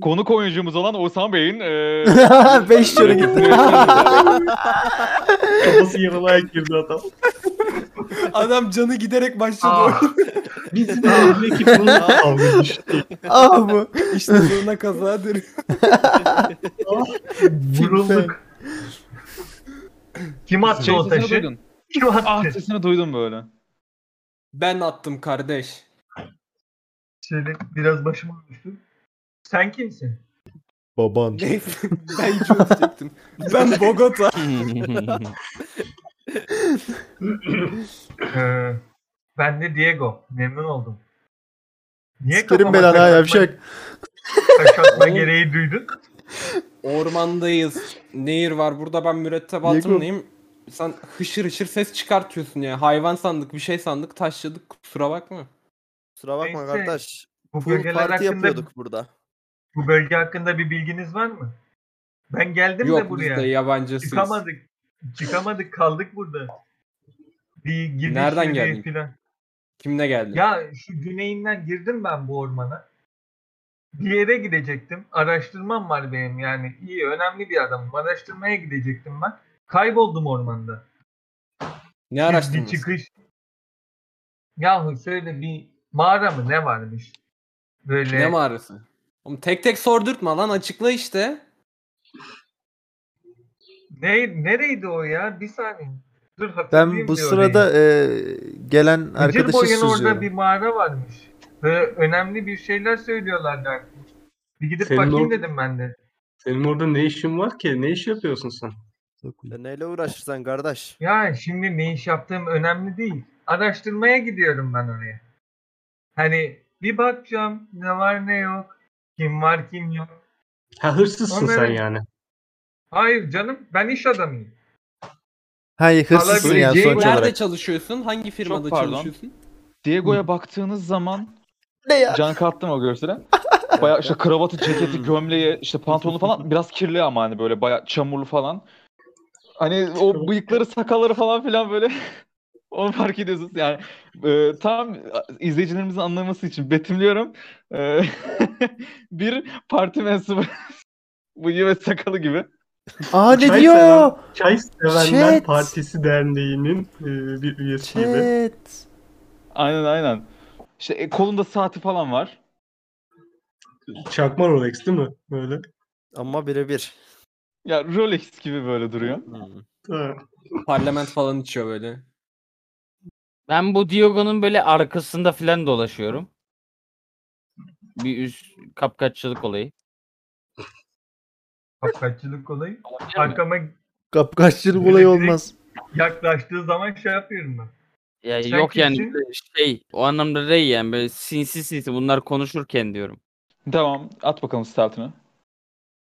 konuk oyuncumuz olan Oğuzhan Bey'in eee, Beş şöyle gitti. Kafası yarılayak girdi adam. Adam canı giderek başladı. Ah. Bizim evdeki bunun kavga düştü. ah bu. İşte sonuna kaza dönüyor. Vurulduk. Kim attı şey o sesini taşı? duydun. Kim Ah attı? sesini duydum böyle. Ben attım kardeş. Şöyle biraz başıma düştü. Sen kimsin? Baban. Neyse ben Joe diyecektim. Ben Bogota. Ee, ben de Diego. Memnun oldum. Niye Sikerim kafama belanı ha şey- taş atma- yavşak. Taş atma Oğlum. gereği duydun? Ormandayız. Nehir var. Burada ben Diego. mürettebatımdayım. Sen hışır hışır ses çıkartıyorsun ya. Hayvan sandık, bir şey sandık, taşladık. Kusura bakma. Kusura bakma Neyse. kardeş. Bu Pool bölgeler parti hakkında yapıyorduk burada. bu bölge hakkında bir bilginiz var mı? Ben geldim de Yok biz de buraya. yabancısıyız. Çıkamadık. Çıkamadık kaldık burada. Bir giriş Nereden yeri geldin? Falan. Kimle geldin? Ya şu güneyinden girdim ben bu ormana. Bir yere gidecektim. Araştırmam var benim yani. iyi önemli bir adamım. Araştırmaya gidecektim ben. Kayboldum ormanda. ne Siz bir araştırdınız? çıkış. Yahu şöyle bir mağara mı ne varmış? Böyle Ne mağarası? Oğlum tek tek sordurtma lan açıkla işte. ne, nereydi o ya? Bir saniye. Dur hatırlayayım Ben bu bir orayı. sırada e, gelen Gıcır arkadaşı boyun orada bir süzüyorum. mağara varmış. Ve önemli bir şeyler söylüyorlardı. artık. Bir gidip Senin bakayım or- dedim ben de. Senin orada ne işin var ki? Ne iş yapıyorsun sen? Ya neyle uğraşırsan kardeş. Ya şimdi ne iş yaptığım önemli değil. Araştırmaya gidiyorum ben oraya. Hani bir bakacağım ne var ne yok. Kim var kim yok. Ha hırsızsın Onları- sen yani. Hayır canım ben iş adamıyım. Hayır hırsızsın ya Alabileceği sonuç Sonuç Nerede olarak. çalışıyorsun? Hangi firmada pardon. çalışıyorsun? Diego'ya baktığınız zaman Ne ya? can kattım o görsele. Baya işte kravatı, ceketi, gömleği, işte pantolonu falan biraz kirli ama hani böyle baya çamurlu falan. Hani o bıyıkları, sakalları falan filan böyle onu fark ediyorsunuz. Yani e, tam izleyicilerimizin anlaması için betimliyorum. E, bir parti mensubu bıyığı ve sakalı gibi. Aa ne Çay diyor? Çay Sevenler Chat. Partisi Derneği'nin e, bir üyesi gibi. Chat. Aynen aynen. İşte e, kolunda saati falan var. Çakma Rolex değil mi? Böyle. Ama birebir. Ya Rolex gibi böyle duruyor. Hmm. Ha. Parlament falan içiyor böyle. Ben bu Diogo'nun böyle arkasında filan dolaşıyorum. Bir üst kapkaççılık olayı. Kapkaççılık olayı. Olabilir mi? Arkama Kapkaççılık olayı olmaz. yaklaştığı zaman şey yapıyorum ben. Ya sen yok yani kimsin? böyle şey o anlamda değil yani böyle sinsi sinsi bunlar konuşurken diyorum. Tamam at bakalım startını.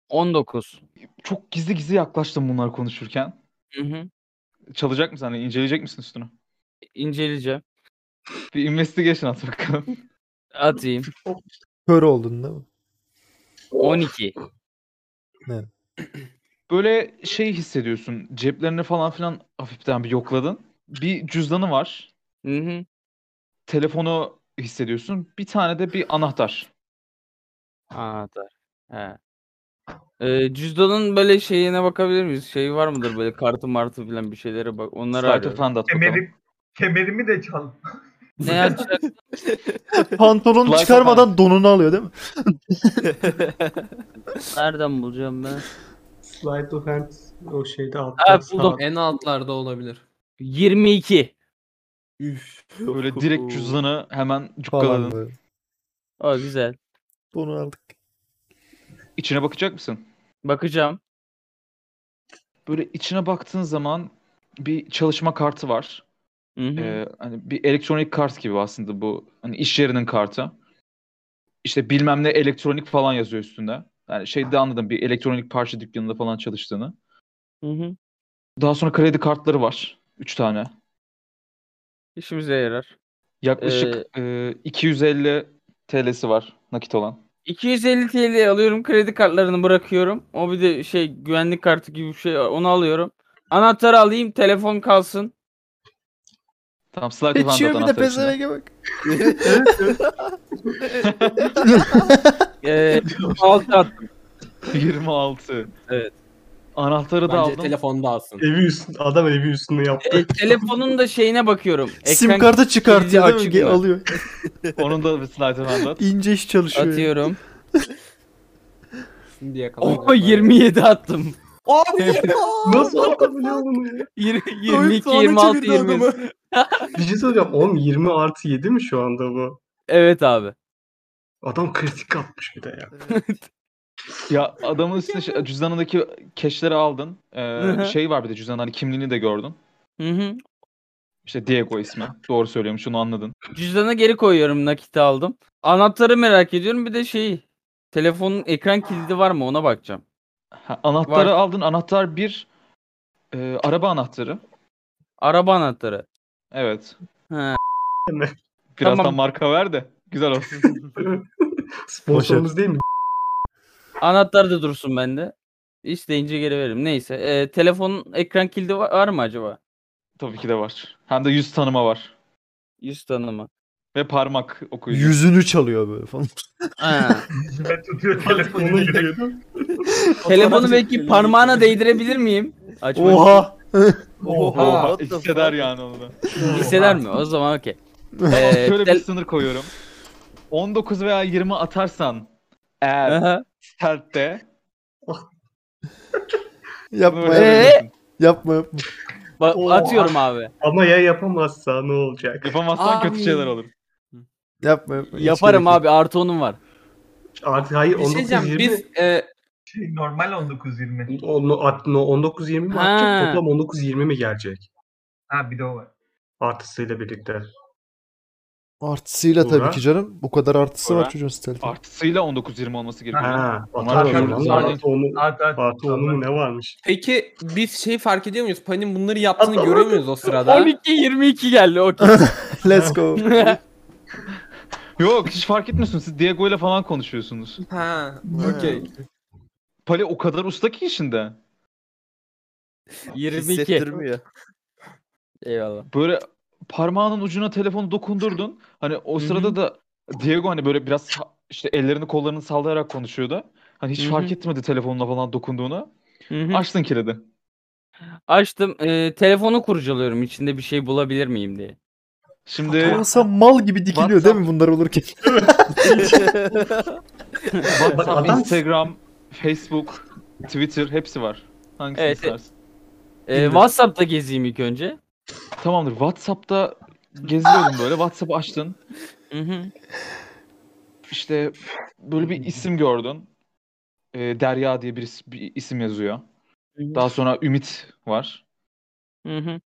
19. Çok gizli gizli yaklaştım bunlar konuşurken. Hı hı. Çalacak mısın? Hani inceleyecek misin üstünü? İnceleyeceğim. Bir investigation at bakalım. Atayım. Kör oldun değil mi? 12. Böyle şey hissediyorsun. Ceplerini falan filan hafiften bir yokladın. Bir cüzdanı var. Hı hı. Telefonu hissediyorsun. Bir tane de bir anahtar. Aa, da. He. Ee, cüzdanın böyle şeyine bakabilir miyiz? Şey var mıdır böyle kartı martı filan bir şeylere bak. Onları Starter arıyorum. falan da at bakalım. Kemerim, kemerimi de çal. Ne açacak? Pantolonu Fly çıkarmadan donunu alıyor değil mi? Nereden bulacağım ben? Slide of Hand o şeyde Ha, altta. sağ- buldum. En altlarda olabilir. 22. Üf. Böyle direkt cüzdanı hemen Falan cukkaladın. böyle. O güzel. Donu aldık. İçine bakacak mısın? Bakacağım. Böyle içine baktığın zaman bir çalışma kartı var. Hı hı. Ee, hani bir elektronik kart gibi aslında bu. Hani iş yerinin kartı. İşte bilmem ne elektronik falan yazıyor üstünde. Yani şeyde anladım bir elektronik parça dükkanında falan çalıştığını. Hı hı. Daha sonra kredi kartları var. 3 tane. İşimize yarar. Yaklaşık Ee, e, 250 TL'si var nakit olan. 250 TL alıyorum. Kredi kartlarını bırakıyorum. O bir de şey güvenlik kartı gibi bir şey. Onu alıyorum. Anahtarı alayım. Telefon kalsın. Tamam Slight of Hand İçiyor bir de anahtar içinde. pezevenge bak. Ee, alt attım. 26. Evet. Anahtarı da Bence aldım. telefonu da alsın. Evi üstünde, adam evi üstünde yaptı. Ee, telefonun da şeyine bakıyorum. Sim kartı çıkartıyor değil mi? açık Ge- mı? Alıyor. Onun da bir Slight of Hand at. İnce iş çalışıyor. ya. atıyorum. Şimdi yakalayacak. Oha 27 attım. Nasıl atabiliyor bunu ya? 22, 26, 20. Bir şey soracağım. Oğlum 20 artı 7 mi şu anda bu? Evet abi. Adam kritik atmış bir de ya. Ya adamın üstüne şey- cüzdanındaki keşleri aldın. Ee, şey var bir de cüzdanın hani kimliğini de gördün. Hı hı. İşte Diego ismi. Doğru söylüyorum şunu anladın. Cüzdana geri koyuyorum nakiti aldım. Anahtarı merak ediyorum bir de şeyi. Telefonun ekran kilidi var mı ona bakacağım. Ha, anahtarı Var. aldın. Anahtar bir e, araba anahtarı. Araba anahtarı. Evet. Ha. Birazdan Tamam. marka ver de güzel olsun. Sponsorumuz değil mi? Anahtar da dursun bende. İsteyince geri veririm. Neyse. Ee, telefonun ekran kilidi var, var mı acaba? Tabii ki de var. Hem de yüz tanıma var. Yüz tanıma. Ve parmak okuyucu. Yüzünü çalıyor böyle falan. Ha. Ve tutuyor telefonu direkt. Telefonu belki parmağına değdirebilir miyim? Açmak için. Oha. Oha, What the hisseder fuck? yani onu da. Hisseder mi? O zaman okey. Ee, Şöyle bir tel- sınır koyuyorum. 19 veya 20 atarsan eğer Aha. sertte Yapma. Böyle- Ee? Yapma yapma. Ba- Oo. atıyorum abi. Ama ya yapamazsa ne olacak? yapamazsan kötü Abi. şeyler olur. Yapma yapma. Hiç Yaparım gerek yok. abi artı onun var. Artı hayır Bir şey 19 diyeceğim. 20. Biz e, Şey, normal 19-20. Onu at, no, 19 20 mi Ha. atacak? Toplam 19 20 mi gelecek? Ha bir de o var. Artısıyla birlikte. Artısıyla Burak. tabii ki canım. Bu kadar artısı Burak. var çocuğun stealth'in. Artısıyla 19-20 olması gerekiyor. Ha, Onlar atar atar, onu. atar. Artı onu. At at. Artı onu mu ne varmış? peki biz şey fark ediyor muyuz? Pan'in bunları yaptığını görüyor muyuz o sırada? 12 22 geldi okey. Let's go. Yok hiç fark etmiyorsun. Siz Diego ile falan konuşuyorsunuz. Ha, okey. Pali o kadar usta ki işinde. 22. Hissettirmiyor. Eyvallah. Böyle parmağının ucuna telefonu dokundurdun. Hani o Hı hı. sırada da Diego hani böyle biraz sa- işte ellerini kollarını sallayarak konuşuyordu. Hani hiç Hı hı. fark etmedi telefonuna falan dokunduğunu. Açtın kilidi. Açtım. e, telefonu kurcalıyorum içinde bir şey bulabilir miyim diye. Şimdi İnsan mal gibi dikiliyor değil mi bunlar olurken? WhatsApp, adam- Instagram, Facebook, Twitter hepsi var. Hangisini Evet, istersin? E, WhatsApp'ta gezeyim ilk önce. Tamamdır. WhatsApp'ta geziyordum böyle. WhatsApp'ı açtın. Hı hı. İşte böyle bir isim gördün. Ee, Derya diye bir, is- bir isim yazıyor. Daha sonra Ümit var. Hı hı.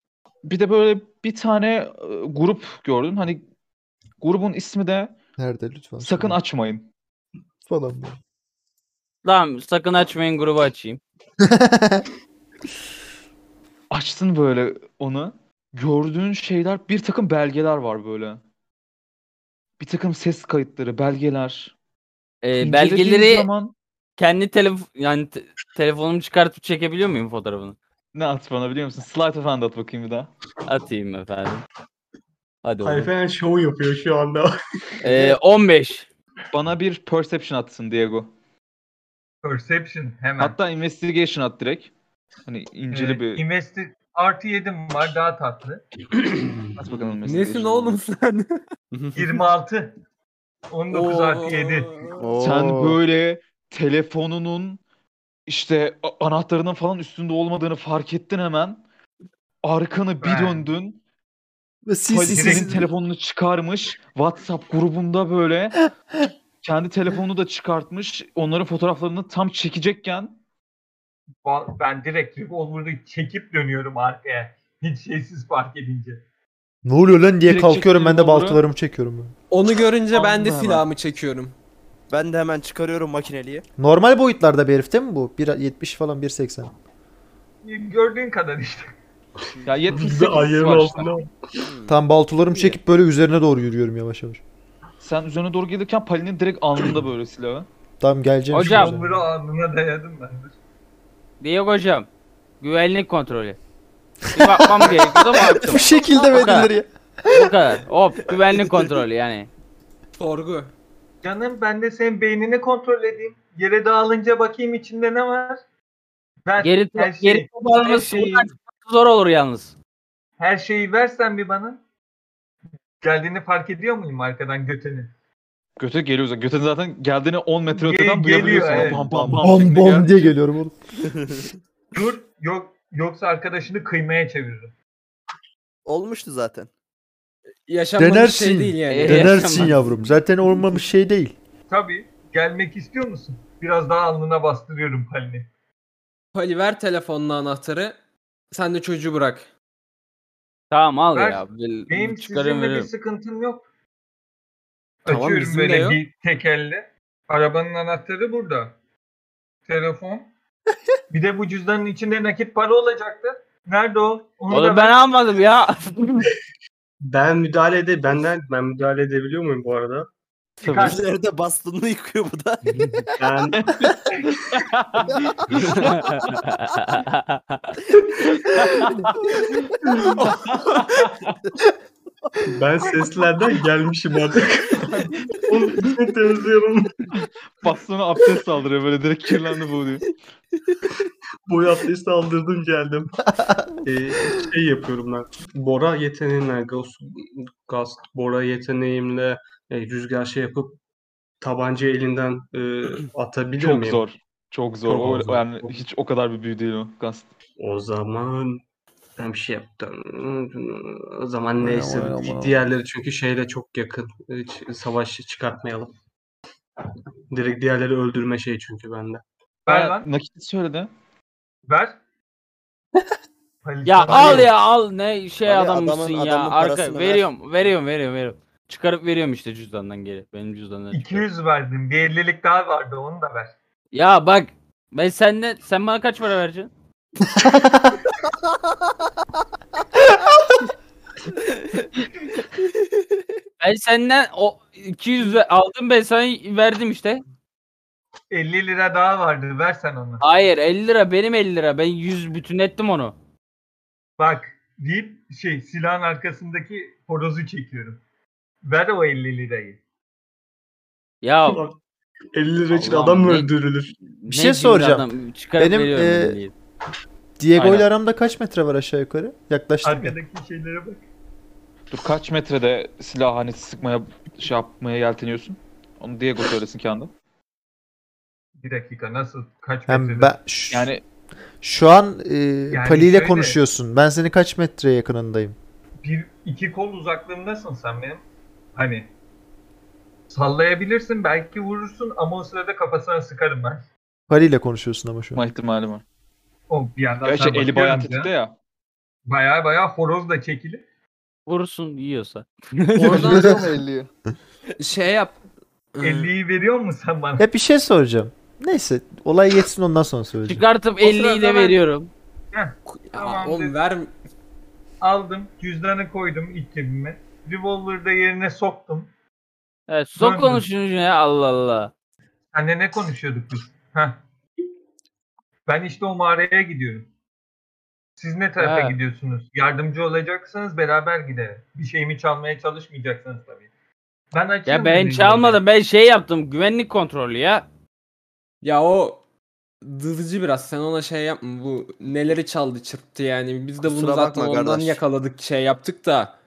Bir de böyle bir tane e, grup gördün. Hani grubun ismi de Nerede lütfen? sakın Söyle. açmayın. falan. böyle. Tamam sakın açmayın grubu açayım. Açtın böyle onu. Gördüğün şeyler bir takım belgeler var böyle. Bir takım ses kayıtları, belgeler. E, İncelediğin belgeleri zaman kendi telefon yani te- telefonumu çıkartıp çekebiliyor muyum fotoğrafını? ne at bana biliyor musun? Slide of hand at bakayım bir daha. Atayım efendim. Hadi oğlum. Tayfen show yapıyor şu anda. E, 15. Bana bir perception atsın Diego. Perception hemen. Hatta investigation at direkt. Hani inceli Ee, bir investi- artı 7'm var daha tatlı. at bakalım Nesin investigation. oğlum sen? 26. 19 artı 7. Sen Oo. böyle telefonunun işte a- anahtarının falan üstünde olmadığını fark ettin hemen. Arkanı bir Ben- döndün. Ve si si si- Senin si. telefonunu çıkarmış. WhatsApp grubunda böyle kendi telefonunu da çıkartmış. Onların fotoğraflarını tam çekecekken Va- Ben direkt revolver'ı çekip dönüyorum arkaya. Hiç şeysiz fark edince. Ne oluyor lan diye Direkt kalkıyorum ben de çektiğin doğru. baltalarımı çekiyorum. böyle. Onu görünce ben de Anladım. silahımı çekiyorum. Ben de hemen çıkarıyorum makineliği. Normal boyutlarda bir herif değil mi bu? 1.70 falan 1.80. Hmm. Gördüğün kadar işte. ya Biz de 78 ayarı var işte. altında. Tam baltalarımı çekip böyle üzerine doğru yürüyorum yavaş yavaş. Sen üzerine doğru gelirken Palin'in direkt alnında böyle silahı. Tam geleceğim. Hocam. şimdi. Revolver'ı alnına dayadım ben. de. Diyor hocam. Güvenlik kontrolü. Bir bakmam gerekiyordu ama Bu baktım. şekilde Bu kadar. verilir ya. Bu kadar. Hop güvenlik kontrolü yani. Sorgu. Canım ben de senin beynini kontrol edeyim. Yere dağılınca bakayım içinde ne var. Ver. Geri, her şey- geri toparlaması her şey- şeyi, bundan zor olur yalnız. her şeyi versen bir bana. Geldiğini fark ediyor muyum arkadan götünü? Göte geliyor zaten. Göte zaten geldiğini 10 metre öteden Geliyor, duyabiliyorsun. evet. Bam bam bam. Bom şeklinde bom gel- diye geliyorum oğlum. Dur yok yoksa arkadaşını kıymaya çeviririm. Olmuştu zaten. Yaşanmamış Denersin. şey değil yani. Ee, Denersin yaşamaz. yavrum. Zaten olmamış şey değil. Tabii gelmek istiyor musun? Biraz daha alnına bastırıyorum palini. Pali ver telefonla anahtarı. Sen de çocuğu bırak. Tamam al Ver. ya. bil- Benim Çıkarıyorum sizinle bir veriyorum. sıkıntım yok. Tamam, Açıyorum bizim de böyle yok. bir tek elle. Arabanın anahtarı burada. Telefon. bir de bu cüzdanın içinde nakit para olacaktı. Nerede o? Onu Oğlum ver. ben almadım ya. Ben müdahale ede benden ben müdahale edebiliyor muyum bu arada? Çıkar. Üzerinde bastonunu yıkıyor bu da. Ben ben seslerden gelmişim artık. Onu temizliyorum. Bastığına abdest saldırıyor böyle direkt kirlendi bu diyor. Boy abdesti aldırdım geldim. Ee, şey yapıyorum ben. Bora yeteneğimle, gaz, gaz Bora yeteneğimle e, rüzgar şey yapıp tabancayı elinden e, atabilir Çok miyim? zor. Çok zor. Çok O- zor. yani hiç o kadar bir büyü değil o. Gast. O zaman ben bir şey yaptım. O zaman Aynen, neyse. aynen, aynen. Diğerleri çünkü şeyle çok yakın. Hiç savaşı çıkartmayalım. Direkt diğerleri öldürme şeyi çünkü bende. Ver lan. Nakiti söyledi. Ver. Halil ya sana al ver. ya al ne şey Abi adammışsın adamın- ya. adamın Arka parasını ver. veriyorum veriyorum veriyorum veriyorum. Çıkarıp veriyorum işte cüzdandan geri. Benim cüzdandan. çıkarıp. 200 verdim. Bir 50'lik daha vardı onu da ver. Ya bak ben senden sen bana kaç para vereceksin? ben senden o 200 ve- aldım ben sana verdim işte. 50 lira daha vardı. Ver sen onu. Hayır 50 lira benim 50 lira. Ben 100 bütün ettim onu. Bak deyip şey silahın arkasındaki horozu çekiyorum. Ver o 50 lirayı. Ya 50 lira için Allah'ım adam mı ne- öldürülür? ne şey cimri soracağım. adam, çıkarıp Benim, veriyorum e, Ee, 50'yi. Diego ile Aynen. aramda kaç metre var aşağı yukarı? Yaklaştın mı? Arkadaki şeylere bak. Dur kaç metrede silah hani sıkmaya şey yapmaya yelteniyorsun? Onu Diego söylesin kendi. Bir dakika nasıl kaç metrede? Hem ben şu, Yani şu an e, Pali ile şöyle- konuşuyorsun. Ben seni kaç metre yakınındayım? Bir, iki kol uzaklığımdasın sen benim. Hani sallayabilirsin belki vurursun ama o sırada kafasına sıkarım ben. Pali ile konuşuyorsun ama şu an. ma ihtimali var. O bir yandan Gerçi sen eli bayağı bakıyorum tetikte ya. ya. Baya baya horoz da çekilip Vurursun yiyorsa. Oradan elliyi? şey yap. Ee, 50'yi veriyor musun sen bana? Ya bir şey soracağım. Neyse olay geçsin ondan sonra söyleyeceğim. Çıkartıp 50'yi sırada de ben- veriyorum. ya Tamam, oğlum dedi. ver. Aldım cüzdanı koydum iç cebime. Revolver'ı da yerine soktum. Evet, Ben- sok konuşunucu ya Allah Allah. Anne ne konuşuyorduk biz? Heh. Ben işte o mağaraya gidiyorum. Siz ne tarafa Ha. gidiyorsunuz? Yardımcı olacaksanız beraber gidelim. Bir şeyimi çalmaya çalışmayacaksınız tabii. Ben açayım Ya ben müziği. çalmadım ben şey yaptım güvenlik kontrolü ya. Ya o dızcı biraz. Sen ona şey yapma. Bu neleri çaldı çırptı yani. Biz de bunu Kusura zaten bakma ondan kardeş. yakaladık şey yaptık da.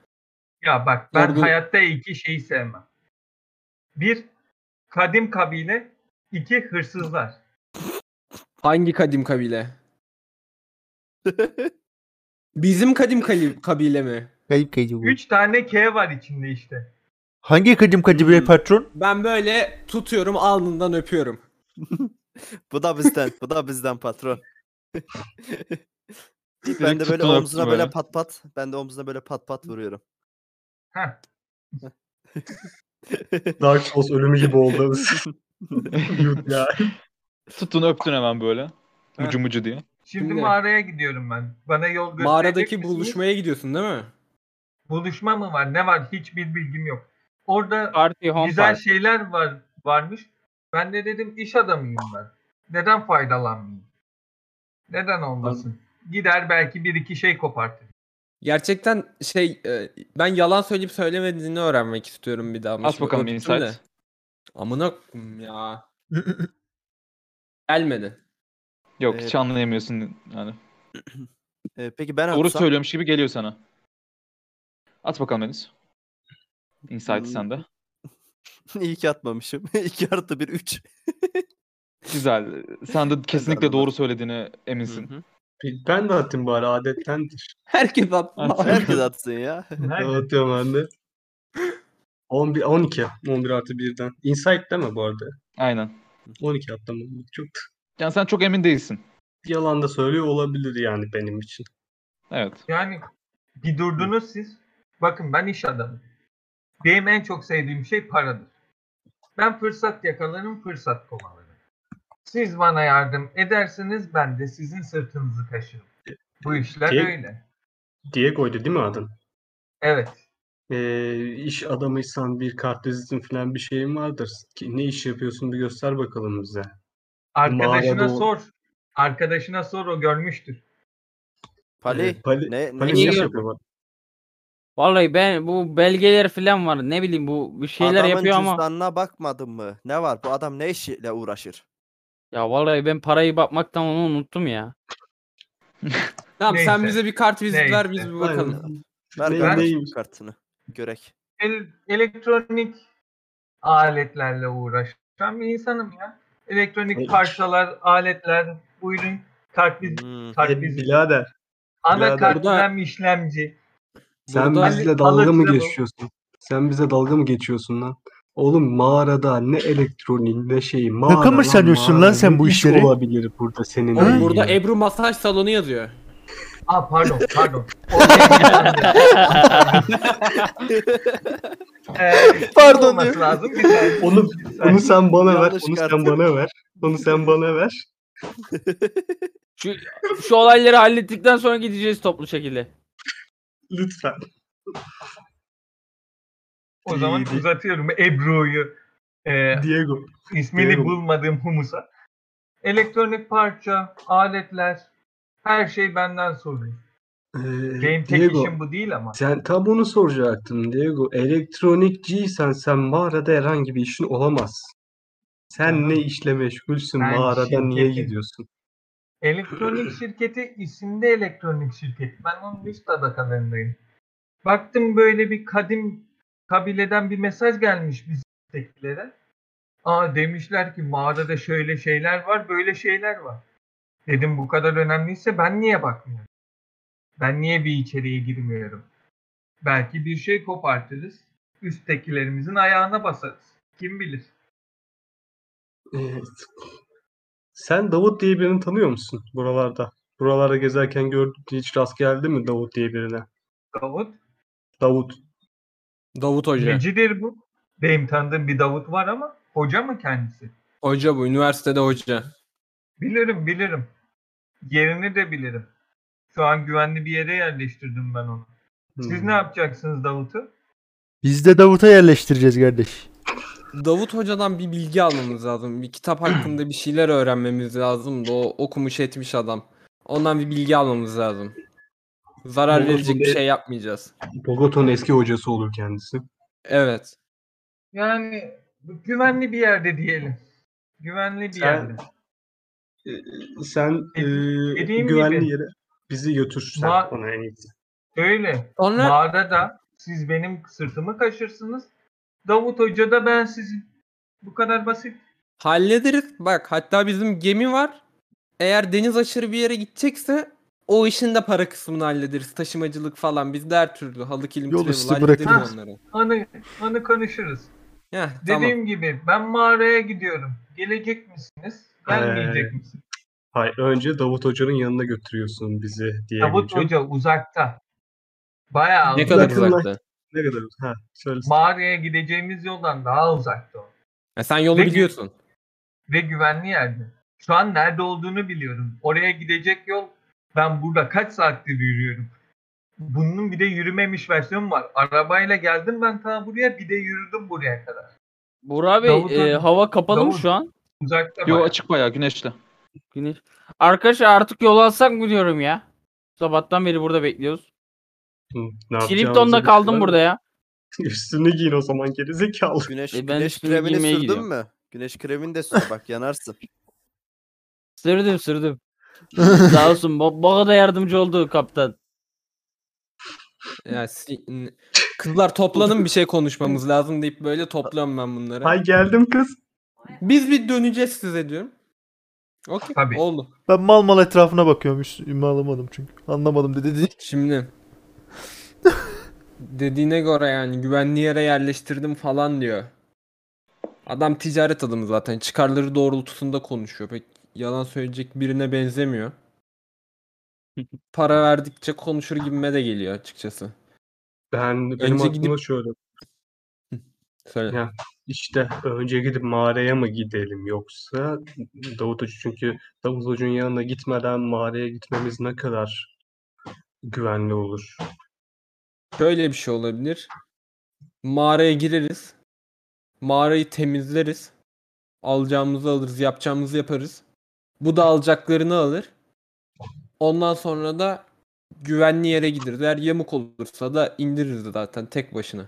Ya bak ben Yorgun- hayatta iki şeyi sevmem. Bir kadim kabile, iki hırsızlar. Hangi kadim kabile? Bizim kadim kali- kabile mi? Kayıp kayıp bu. Üç tane K var içinde işte. Hangi kadim kadim Hmm. patron? Ben böyle tutuyorum alnından öpüyorum. Bu da bizden. Bu da bizden patron. ben de Direkt böyle tuttular omzuna böyle. böyle pat pat. Ben de omzuna böyle pat pat vuruyorum. Heh. Dark Souls ölümü gibi oldu. Yut ya. Tuttun öptün hemen böyle. Mucu mucu diye. Şimdi Dinle. mağaraya gidiyorum ben. Bana yol gösterecek Mağaradaki misiniz? buluşmaya gidiyorsun değil mi? Buluşma mı var? Ne var? Hiçbir bilgim yok. Orada Party home güzel party. şeyler var varmış. Ben de dedim iş adamıyım ben. Neden faydalanmayayım? Neden olmasın? Gider belki bir iki şey kopartır. Gerçekten şey e, ben yalan söyleyip söylemediğini öğrenmek istiyorum bir daha. ama Aç şimdi bakalım bir öptüm de. insight. Amına koyayım ya. Gelmedi. Yok Ee, hiç anlayamıyorsun yani. Ee, peki ben Doğru atsam. söylüyormuş gibi geliyor sana. At bakalım Deniz. Insight'ı Hmm. sende. İyi ki atmamışım. 2 artı 1 3. Güzel. Sen de kesinlikle anladım. doğru söylediğine eminsin. Ben de attım bari adettendir. Herkes attı. Herkes atsın ya. Nerede? Atıyorum ben de. 11, 12. 11 artı 1'den. Insight deme bu arada. Aynen. 12 attım. ben. Çok Yani sen çok emin değilsin. yalan da söylüyor olabilir yani benim için. Evet. Yani bir durdunuz siz. Bakın ben iş adamım. Benim en çok sevdiğim şey paradır. Ben fırsat yakalarım, fırsat kovalarım. Siz bana yardım ederseniz ben de sizin sırtınızı taşırım. Bu işler Ki- öyle. Diego'ydu değil mi adın? Evet. Ee, iş adamıysan bir kartvizin falan bir şeyin vardır. Ki, ne iş yapıyorsun bir göster bakalım bize. Arkadaşına Mağarada o- sor. Arkadaşına sor o görmüştür. Pali. Ee, Pali, Ne, ne Pali iş ne iş yapıyor? yapıyor? Vallahi ben bu belgeler falan var. Ne bileyim bu bir şeyler Adamın yapıyor ama. cüzdanına bakmadın mı? Ne var? Bu adam ne işle uğraşır? Ya vallahi ben parayı bakmaktan onu unuttum ya. Tamam sen Neyse. bize bir kart vizit ver biz Neyse. bir bakalım. Ver Ne- kardeşim neymiş? kartını. Görek. El, elektronik aletlerle uğraşan bir insanım ya. Hayır. Elektronik parçalar, aletler, buyurun kartviz, Hmm. Aynen. E, kartviz, birader ana birader. kartvizem işlemci. sen Burada- bizle dalga mı Alıcı bu. geçiyorsun? Sen bize dalga mı geçiyorsun lan? Oğlum mağarada ne elektronik ne şey mağara Takım mı sanıyorsun lan mağara. sen Ne bu iş işleri? olabilir burada senin. Oğlum de burada yani? Ebru masaj salonu yazıyor. Aa pardon, pardon. O benim. Ee, Pardon olması diyor. lazım. Bir saniye, Onu- bir saniye. onu sen bana ver. Yanlış Onu kartı. sen bana ver. Onu sen bana ver. Şu, şu olayları hallettikten sonra gideceğiz toplu şekilde. Lütfen. O zaman İyi, iyi. uzatıyorum Ebru'yu. Ee, Diego. ismini Diyelim. bulmadığım humusa. Elektronik parça, aletler, her şey benden soruluyor. Ee, Benim tek Diego. işim bu değil ama. Sen tam onu soracaktım Diego. Elektronikçiysen sen mağarada herhangi bir işin olamaz. Sen Tamam. ne işle meşgulsün Ben mağarada niye şirketim. gidiyorsun? Elektronik şirketi isimli elektronik şirket. Ben onun üst tabakalarındayım. Baktım böyle bir kadim kabileden bir mesaj gelmiş bizdekilere. Aa demişler ki mağarada şöyle şeyler var, böyle şeyler var. Dedim bu kadar önemliyse ben niye bakmıyorum? Ben niye bir içeriye girmiyorum? Belki bir şey kopartırız. Üsttekilerimizin ayağına basarız. Kim bilir? Evet. Sen Davut diye birini tanıyor musun buralarda? Buralarda gezerken gördün hiç rast geldi mi Davut diye birine? Davut. Davut. Davut Hoca. Necidir bu? Benim tanıdığım bir Davut var ama hoca mı kendisi? Hoca bu üniversitede hoca. Bilirim bilirim. Yerini de bilirim. Şu an güvenli bir yere yerleştirdim ben onu. Siz Hmm. ne yapacaksınız Davut'u? Biz de Davut'a yerleştireceğiz kardeş. Davut Hoca'dan bir bilgi almamız lazım. Bir kitap hakkında bir şeyler öğrenmemiz lazım da o okumuş etmiş adam. Ondan bir bilgi almamız lazım. Zarar Davut verecek bir Hoca- şey yapmayacağız. Bogota'nın eski hocası olur kendisi. Evet. Yani güvenli bir yerde diyelim. Güvenli bir Sen- yerde. Ee, Sen E, ee, dediğim güvenli gibi. yere bizi götür sen Ma- ona en iyisi. Öyle. Sonra Mağarada siz benim sırtımı kaşırsınız. Davut Hoca da ben sizin. Bu kadar basit. hallederiz. Bak hatta bizim gemi var. Eğer deniz aşırı bir yere gidecekse o işin de para kısmını hallederiz. Taşımacılık falan. Biz de her türlü halı kilim Yol travel üstü hallederiz bırakırız. onları. Anı, anı konuşuruz. Heh, tamam. Dediğim gibi ben mağaraya gidiyorum. Gelecek misiniz? Gelmeyecek misiniz? Ee, Hayır, önce Davut Hoca'nın yanına götürüyorsun bizi diye Davut geçiyor. Hoca uzakta. Bayağı Ne kadar Yakınlar- uzakta? Ne kadar? Ha, söyle. mağaraya gideceğimiz yoldan daha uzakta o. Ya sen yolu Ne- biliyorsun. Ve güvenli yerde. Şu an nerede olduğunu biliyorum. Oraya gidecek yol ben burada kaç saattir yürüyorum. Bunun bir de yürümemiş versiyonu var. Arabayla geldim ben ta buraya bir de yürüdüm buraya kadar. Burak Bey Davut e, abi. hava kapalı mı Davut. şu an? Uzakta Yo bayağı. açık bayağı güneşli. Güneş. Arkadaşlar artık yol alsak mı diyorum ya. Sabahtan beri burada bekliyoruz. Ne yapacağımızı Tripton'da kaldım bilmiyorum. burada ya. Üstünü giyin o zaman gerizekalı. Güneş, E ben güneş üstümü kremini giymeye sürdün gidiyorum. mü? Güneş kremini de sür bak yanarsın. Sürdüm sürdüm. Sağ olsun. Bo- Boga da yardımcı oldu kaptan. Ya, si- n- kızlar toplanın bir şey konuşmamız lazım deyip böyle topluyorum ben bunları. Hay geldim kız. Biz bir döneceğiz size diyorum. Okey Tabii. oldu. Ben mal mal etrafına bakıyorum. Hiç ümmi alamadım çünkü. Anlamadım dedi. dedi. Şimdi dediğine göre yani güvenli yere yerleştirdim falan diyor. Adam ticaret adamı zaten. Çıkarları doğrultusunda konuşuyor. Pek yalan söyleyecek birine benzemiyor. Para verdikçe konuşur gibime de geliyor açıkçası. Ben benim Önce aklıma gidip- şöyle. Söyle. Ya. İşte önce gidip mağaraya mı gidelim yoksa Davut Hoca çünkü Davut Hoca'nın yanına gitmeden mağaraya gitmemiz ne kadar güvenli olur? Şöyle bir şey olabilir. Mağaraya gireriz. Mağarayı temizleriz. Alacağımızı alırız, yapacağımızı yaparız. Bu da alacaklarını alır. Ondan sonra da güvenli yere gideriz. Eğer yamuk olursa da indiririz zaten tek başına.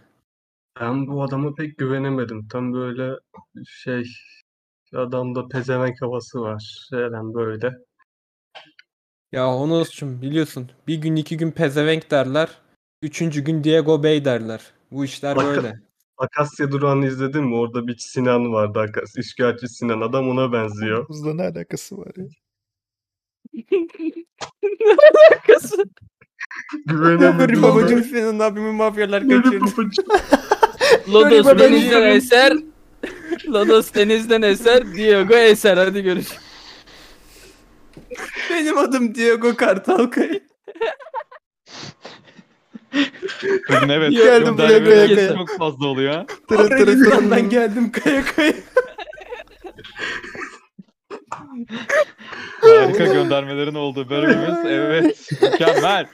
Ben bu adama pek güvenemedim. Tam böyle şey adamda pezevenk havası var. Eren böyle. Ya Honos'cum biliyorsun bir gün iki gün pezevenk derler. Üçüncü gün Diego Bey derler. Bu işler Bakın. böyle. Akasya Durağı'nı izledin mi? Orada bir Sinan vardı. Akas, işgalci Sinan. Adam ona benziyor. Buzla ne alakası var ya? Kızım. Güvenemedim ona. senin abimin mafyalar Benim babacığım. Lodos Gariban denizden insanım. eser. Lodos denizden eser. Diego eser. Hadi görüş. Benim adım Diego Kartal Kaya. Bugün evet. Geldim bugün buraya derbi kaya bölgesi kaya. Çok fazla oluyor. ha. Tırı tırı tırı. Arabistan'dan geldim kaya kaya. Harika göndermelerin olduğu bölümümüz. Evet. Mükemmel.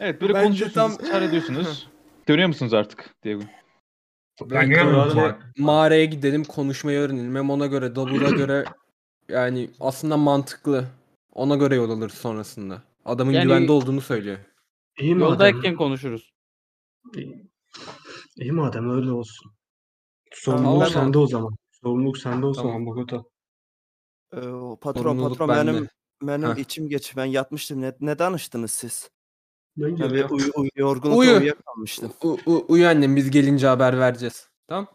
Evet böyle Bence konuşuyorsunuz. Tam... ediyorsunuz. Dönüyor musunuz artık Diego? Ben görüyorum Böyle mağaraya gidelim konuşmayı öğrenelim. Hem ona göre Davur'a göre yani aslında mantıklı. Ona göre yol alırız sonrasında. Adamın Yani- güvende olduğunu söylüyor. İyi madem. Yoldayken konuşuruz. İyi. İyi madem öyle olsun. Tamam, Sorumluluk tamam. sende o zaman. Sorumluluk sende o Tamam. zaman Bogota. Ee, o patron Sorumluluk patron bende. benim benim Heh. içim geç. Ben yatmıştım. Ne, ne danıştınız siz? Ben Ben bir geliyorum. uyu, uyu, yorgunlukla Uyu. uyuyakalmıştım. U- u- uyu annem biz gelince haber vereceğiz. Tamam.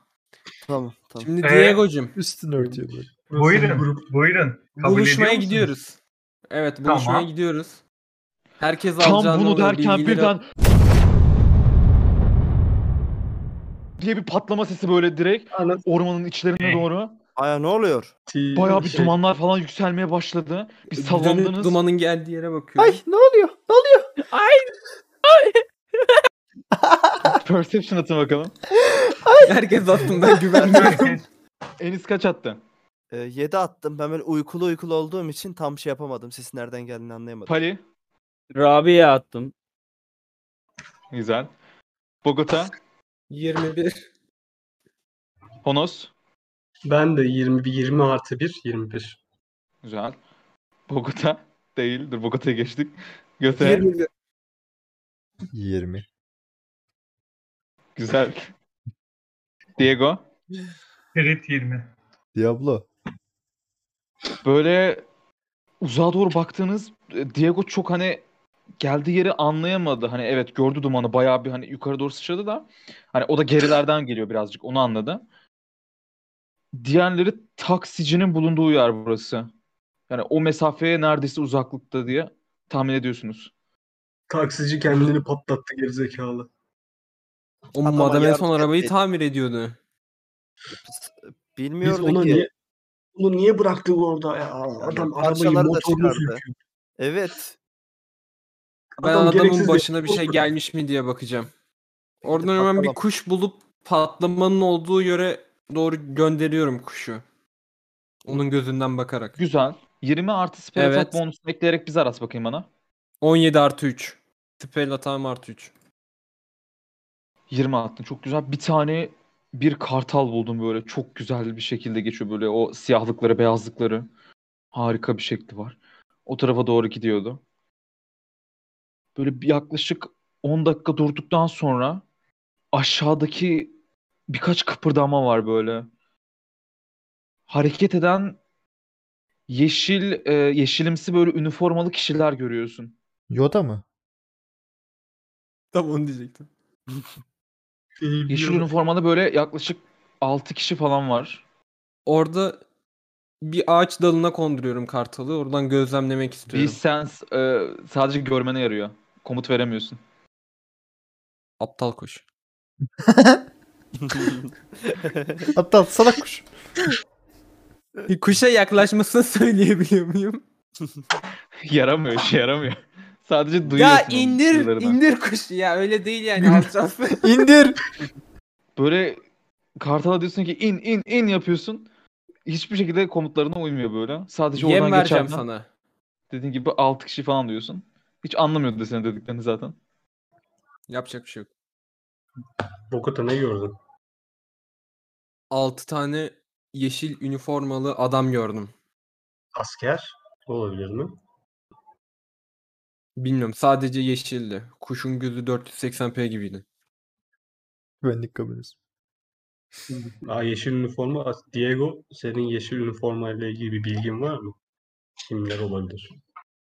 Tamam tamam. Şimdi Ee, Diego'cum Üstünü örtüyor böyle. Burası bir Buyurun. grup. Buyurun. Kabul buluşmaya ediyor musunuz? gidiyoruz. Evet buluşmaya Tamam. gidiyoruz. Herkes Tam alacağını bunu alıyor, derken bilgileri- birden diye bir patlama sesi böyle direkt Ana- ormanın içlerine Ne? doğru. Aya ne oluyor? Ti- Bayağı bir şey, dumanlar falan yükselmeye başladı. Bir Dönüp sallandınız. Dumanın geldiği yere bakıyorum. Ay ne oluyor? Ne oluyor? Perception atın bakalım. Herkes aslında güvende. Herkes- Enis kaç attı? 7 Ee, attım. Ben böyle uykulu uykulu olduğum için tam şey yapamadım. Ses nereden geldiğini anlayamadım. Pali. Rabia'ya attım. Güzel. Bogota. 21. Honos. Ben de 20, 20 artı 1, 21. Güzel. Bogota. Değil. Dur Bogota'ya geçtik. Göte. 21. 20. Güzel. Diego. Crit 20. Diablo. Böyle uzağa doğru baktığınız e, Diego çok hani geldiği yeri anlayamadı. Hani evet gördü dumanı bayağı bir hani yukarı doğru sıçradı da hani o da gerilerden geliyor birazcık onu anladı. Diğerleri taksicinin bulunduğu yer burası. Yani o mesafeye neredeyse uzaklıkta diye tahmin ediyorsunuz. Taksici kendini patlattı gerizekalı. O Adama madem Hmm, en yardım son arabayı et. tamir ediyordu. Biz Bilmiyordu ona ki. niye onu niye bıraktık orada ya? Adam arabayı parçaları da motorunu çıkardı. söküyor. Evet. Ben Adam adamın gereksiz başına yere bir şey vurdu. gelmiş mi diye bakacağım. Oradan hemen bir patlamam. kuş bulup patlamanın olduğu yere doğru gönderiyorum kuşu. Onun gözünden bakarak. Güzel. 20 artı spell Evet. attack bonusunu ekleyerek bize aras bakayım bana. 17 artı 3. Spell atağım artı 3. 20 attın. Çok güzel. Bir tane bir kartal buldum böyle. Çok güzel bir şekilde geçiyor böyle o siyahlıkları, beyazlıkları. Harika bir şekli var. O tarafa doğru gidiyordu. Böyle bir yaklaşık 10 dakika durduktan sonra aşağıdaki birkaç kıpırdama var böyle. Hareket eden yeşil e, yeşilimsi böyle üniformalı kişiler görüyorsun. Yoda mı? Tam onu diyecektim. Yeşil Yıl- üniformalı böyle yaklaşık 6 kişi falan var. Orada bir ağaç dalına konduruyorum kartalı. Oradan gözlemlemek Bir istiyorum. sens e, sadece görmene yarıyor. Komut veremiyorsun. Aptal kuş. Hatta salak kuş. Bir kuşa yaklaşmasını söyleyebiliyor muyum? Yaramıyor, işe yaramıyor. Sadece duyuyorsun. Ya onun indir, tüylerini. indir kuşu ya. Öyle değil yani alçalsın. İndir. Böyle kartala diyorsun ki in in in yapıyorsun. Hiçbir şekilde komutlarına uymuyor böyle. Sadece Yem oradan vereceğim geçerken sana. dediğin gibi 6 kişi falan diyorsun. Hiç anlamıyordu da senin dediklerini zaten. Yapacak bir şey yok. Bogota ne gördün? 6 tane yeşil üniformalı adam gördüm. Asker olabilir mi? Bilmiyorum sadece yeşildi. Kuşun gözü 480p gibiydi. Güvenlik kabinesi. Aa, yeşil üniforma. As- Diego senin yeşil üniformayla ilgili bir bilgin var mı? Kimler olabilir?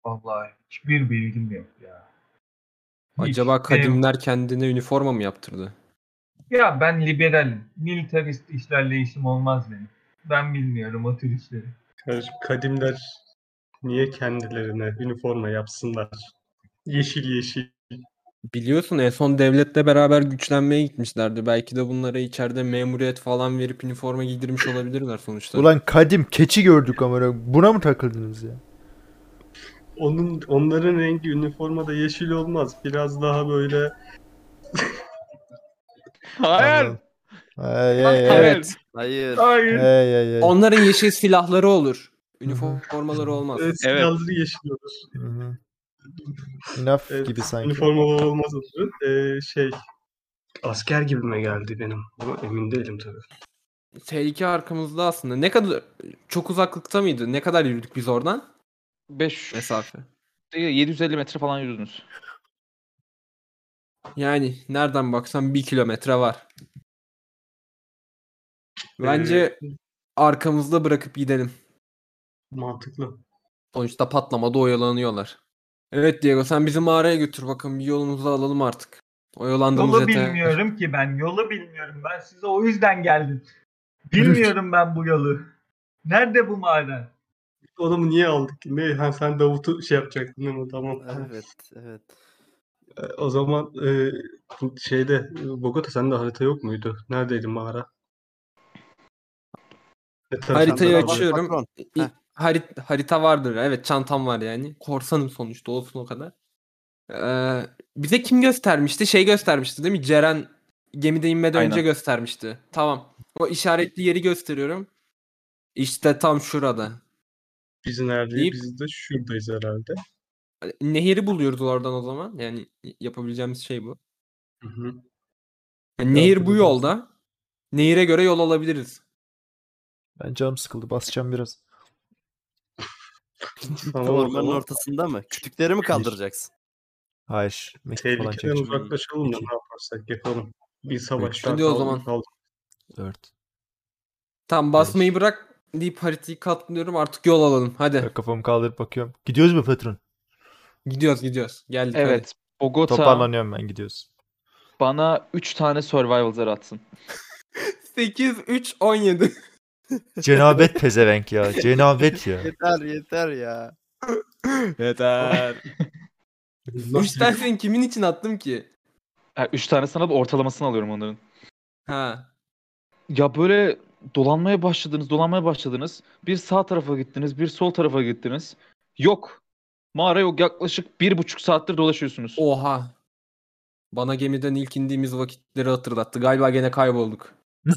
Vallahi hiçbir bilgim yok ya. Hiç. Acaba Benim- kadimler kendine üniforma mı yaptırdı? Ya ben liberalim. Militarist işlerle işim olmaz benim. Ben bilmiyorum o tür işleri. Kardeşim, kadimler niye kendilerine üniforma yapsınlar? Yeşil yeşil. Biliyorsun en son devletle beraber güçlenmeye gitmişlerdi. Belki de bunlara içeride memuriyet falan verip üniforma giydirmiş olabilirler sonuçta. Ulan kadim keçi gördük ama buna mı takıldınız ya? Onun onların rengi üniformada yeşil olmaz. Biraz daha böyle Hayır. Anladım. Ay ay ay. Hayır. Hayır. hayır. Ay ay ay. Onların yeşil silahları olur. Üniformaları olmaz. Evet, silahları e, yeşil olur. Hı hı. İnaf Evet, gibi sanki. Üniformalı olmaz olur. Ee, şey asker gibime geldi benim. Ama emin değilim tabii. Tehlike arkamızda aslında. Ne kadar çok uzaklıkta mıydı? Ne kadar yürüdük biz oradan? 5 Mesafe. 750 metre falan yürüdünüz. Yani nereden baksan bir kilometre var. Ee, Bence arkamızda bırakıp gidelim. Mantıklı. Sonuçta patlamada oyalanıyorlar. Evet Diego sen bizi mağaraya götür bakalım bir yolumuzu alalım artık. Oyalandığımız Yolu yeter. bilmiyorum ki ben. Yolu bilmiyorum. Ben size o yüzden geldim. Bilmiyorum ben bu yolu. Nerede bu mağara? Adamı niye aldık ki? Ne? Ha, sen Davut'u şey yapacaktın değil mi? Tamam. Evet, evet. Ee, O zaman e, bu şeyde e, Bogota sende harita yok muydu? Neredeydi mağara? E, tabii Haritayı sende de açıyorum. Patron. İ- Heh. harit- harita vardır. Evet çantam var yani. Korsanım sonuçta olsun o kadar. Ee, bize kim göstermişti? Şey göstermişti değil mi? Ceren gemide inmeden önce Aynen. göstermişti. Tamam. O işaretli yeri gösteriyorum. İşte tam şurada. Biz neredeyiz? deyip- Biz de şuradayız herhalde. Nehri buluyoruz oradan o zaman. Yani yapabileceğimiz şey bu. Hı hı. Yani nehir bu yapabiliriz. yolda. Nehire göre yol alabiliriz. Ben canım sıkıldı. Basacağım biraz. Tamam o Ormanın zaman. ortasında mı? Kütükleri mi kaldıracaksın? Hayır. Mektup falan Tehlikeden çekeceğim. uzaklaşalım da İki. ne yaparsak yapalım. Bir savaştan Hadi o kaldık, zaman. kaldık. Dört. Tam basmayı bırak deyip haritayı katlıyorum artık yol alalım. Hadi Ben kafamı kaldırıp bakıyorum. Gidiyoruz mu patron? gidiyoruz gidiyoruz. Geldik hadi. Evet. Bogota Toparlanıyorum ben gidiyoruz. bana 3 tane survival zarı atsın. 8 3 17. Cenabet pezevenk ya. Cenabet ya. Yeter yeter ya. Yeter. Nasıl 3 tanesini kimin için attım ki? 3 tane sana da ortalamasını alıyorum onların. Ha. Ya böyle dolanmaya başladınız, dolanmaya başladınız. Bir sağ tarafa gittiniz, bir sol tarafa gittiniz. Yok. Mağara yok. Yaklaşık bir buçuk saattir dolaşıyorsunuz. Oha. Bana gemiden ilk indiğimiz vakitleri hatırlattı. Galiba gene kaybolduk.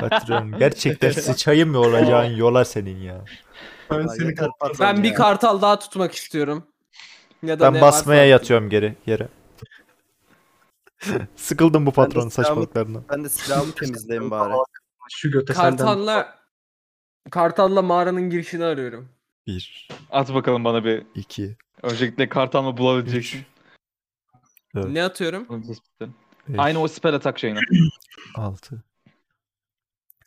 Patron gerçekten sıçayım mı olacağın yola senin ya. Ben Ya seni yeter patron Ben bir ya. kartal daha tutmak istiyorum. Ya da ne Ben varsa basmaya artık. yatıyorum geri yere. Sıkıldım bu patron Ben de silahımı- saçmalıklarından. Ben de silahımı temizleyeyim bari. şu göte senden Kartal'la Kartal'la mağaranın girişini arıyorum. Bir, At bakalım bana bir. iki, Öncelikle kartal mı bulabileceksin? Evet. Ne atıyorum? Bunun tespitleri. Beş, Aynı o spell attack şeyini. 6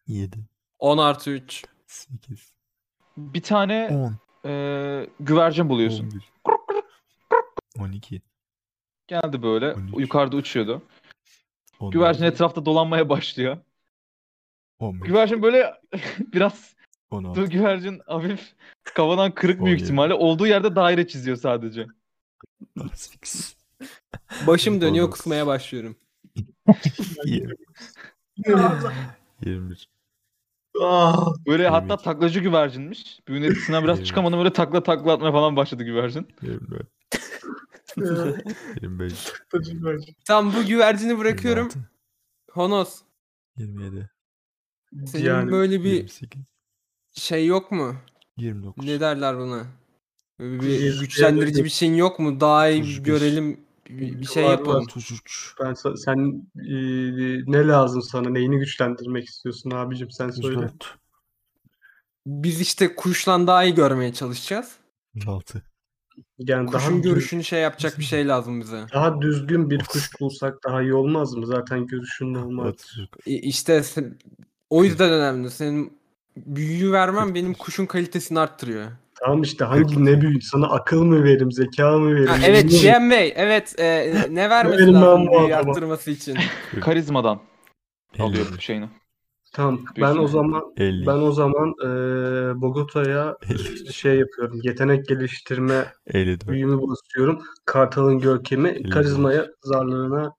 7 10 artı 3. 8 Bir tane 10 e, güvercin buluyorsun. 11 12 Geldi böyle. On üç. Yukarıda uçuyordu. 14 Güvercin etrafta dolanmaya başlıyor. 15 Güvercin böyle biraz 16 dur güvercin hafif kafadan kırık büyük On yedi. ihtimalle. Olduğu yerde daire çiziyor sadece. 18 Başım dönüyor Olmaz. kusmaya başlıyorum. 20 21 Ah, Böyle Yemek. hatta taklacı güvercinmiş. Büyünün etkisinden biraz Yemek. çıkamadım böyle takla takla atmaya falan başladı güvercin. 24 25 Tam bu güvercini bırakıyorum. Honos 27 senin yani böyle bir 28 şey yok mu? 29 Ne derler buna? Böyle Bir- bir güçlendirici bir şey şeyin yok mu? Daha iyi bir Tuz bir. görelim bir bir şey Var, var. yapalım. 33 ben sa- sen e, ne lazım sana? Neyini güçlendirmek istiyorsun abicim sen söyle. 34 Biz işte kuşlan daha iyi görmeye çalışacağız. 36 Yani daha Kuşun düz- görüşünü şey yapacak bir şey lazım bize. daha düzgün bir kuş bulsak daha iyi olmaz mı? Zaten görüşünün olmaz. 39 İ- İşte sen- o yüzden önemli. Senin büyüyü vermem benim kuşun kalitesini arttırıyor. Tamam işte hangi ne büyük sana akıl mı verim, zeka mı verim? Ha, evet şey bilmiyorum. GM Bey evet e, ne vermesi Benim ben lazım bu büyüyü adama. arttırması için? Karizmadan alıyor 50 şeyini. Tamam. Ben Büyüsün. o zaman 50 ben o zaman e, Bogota'ya 50 şey yapıyorum. Yetenek geliştirme 54 büyümü basıyorum. Kartal'ın görkemi, Elli karizmaya, zarlarına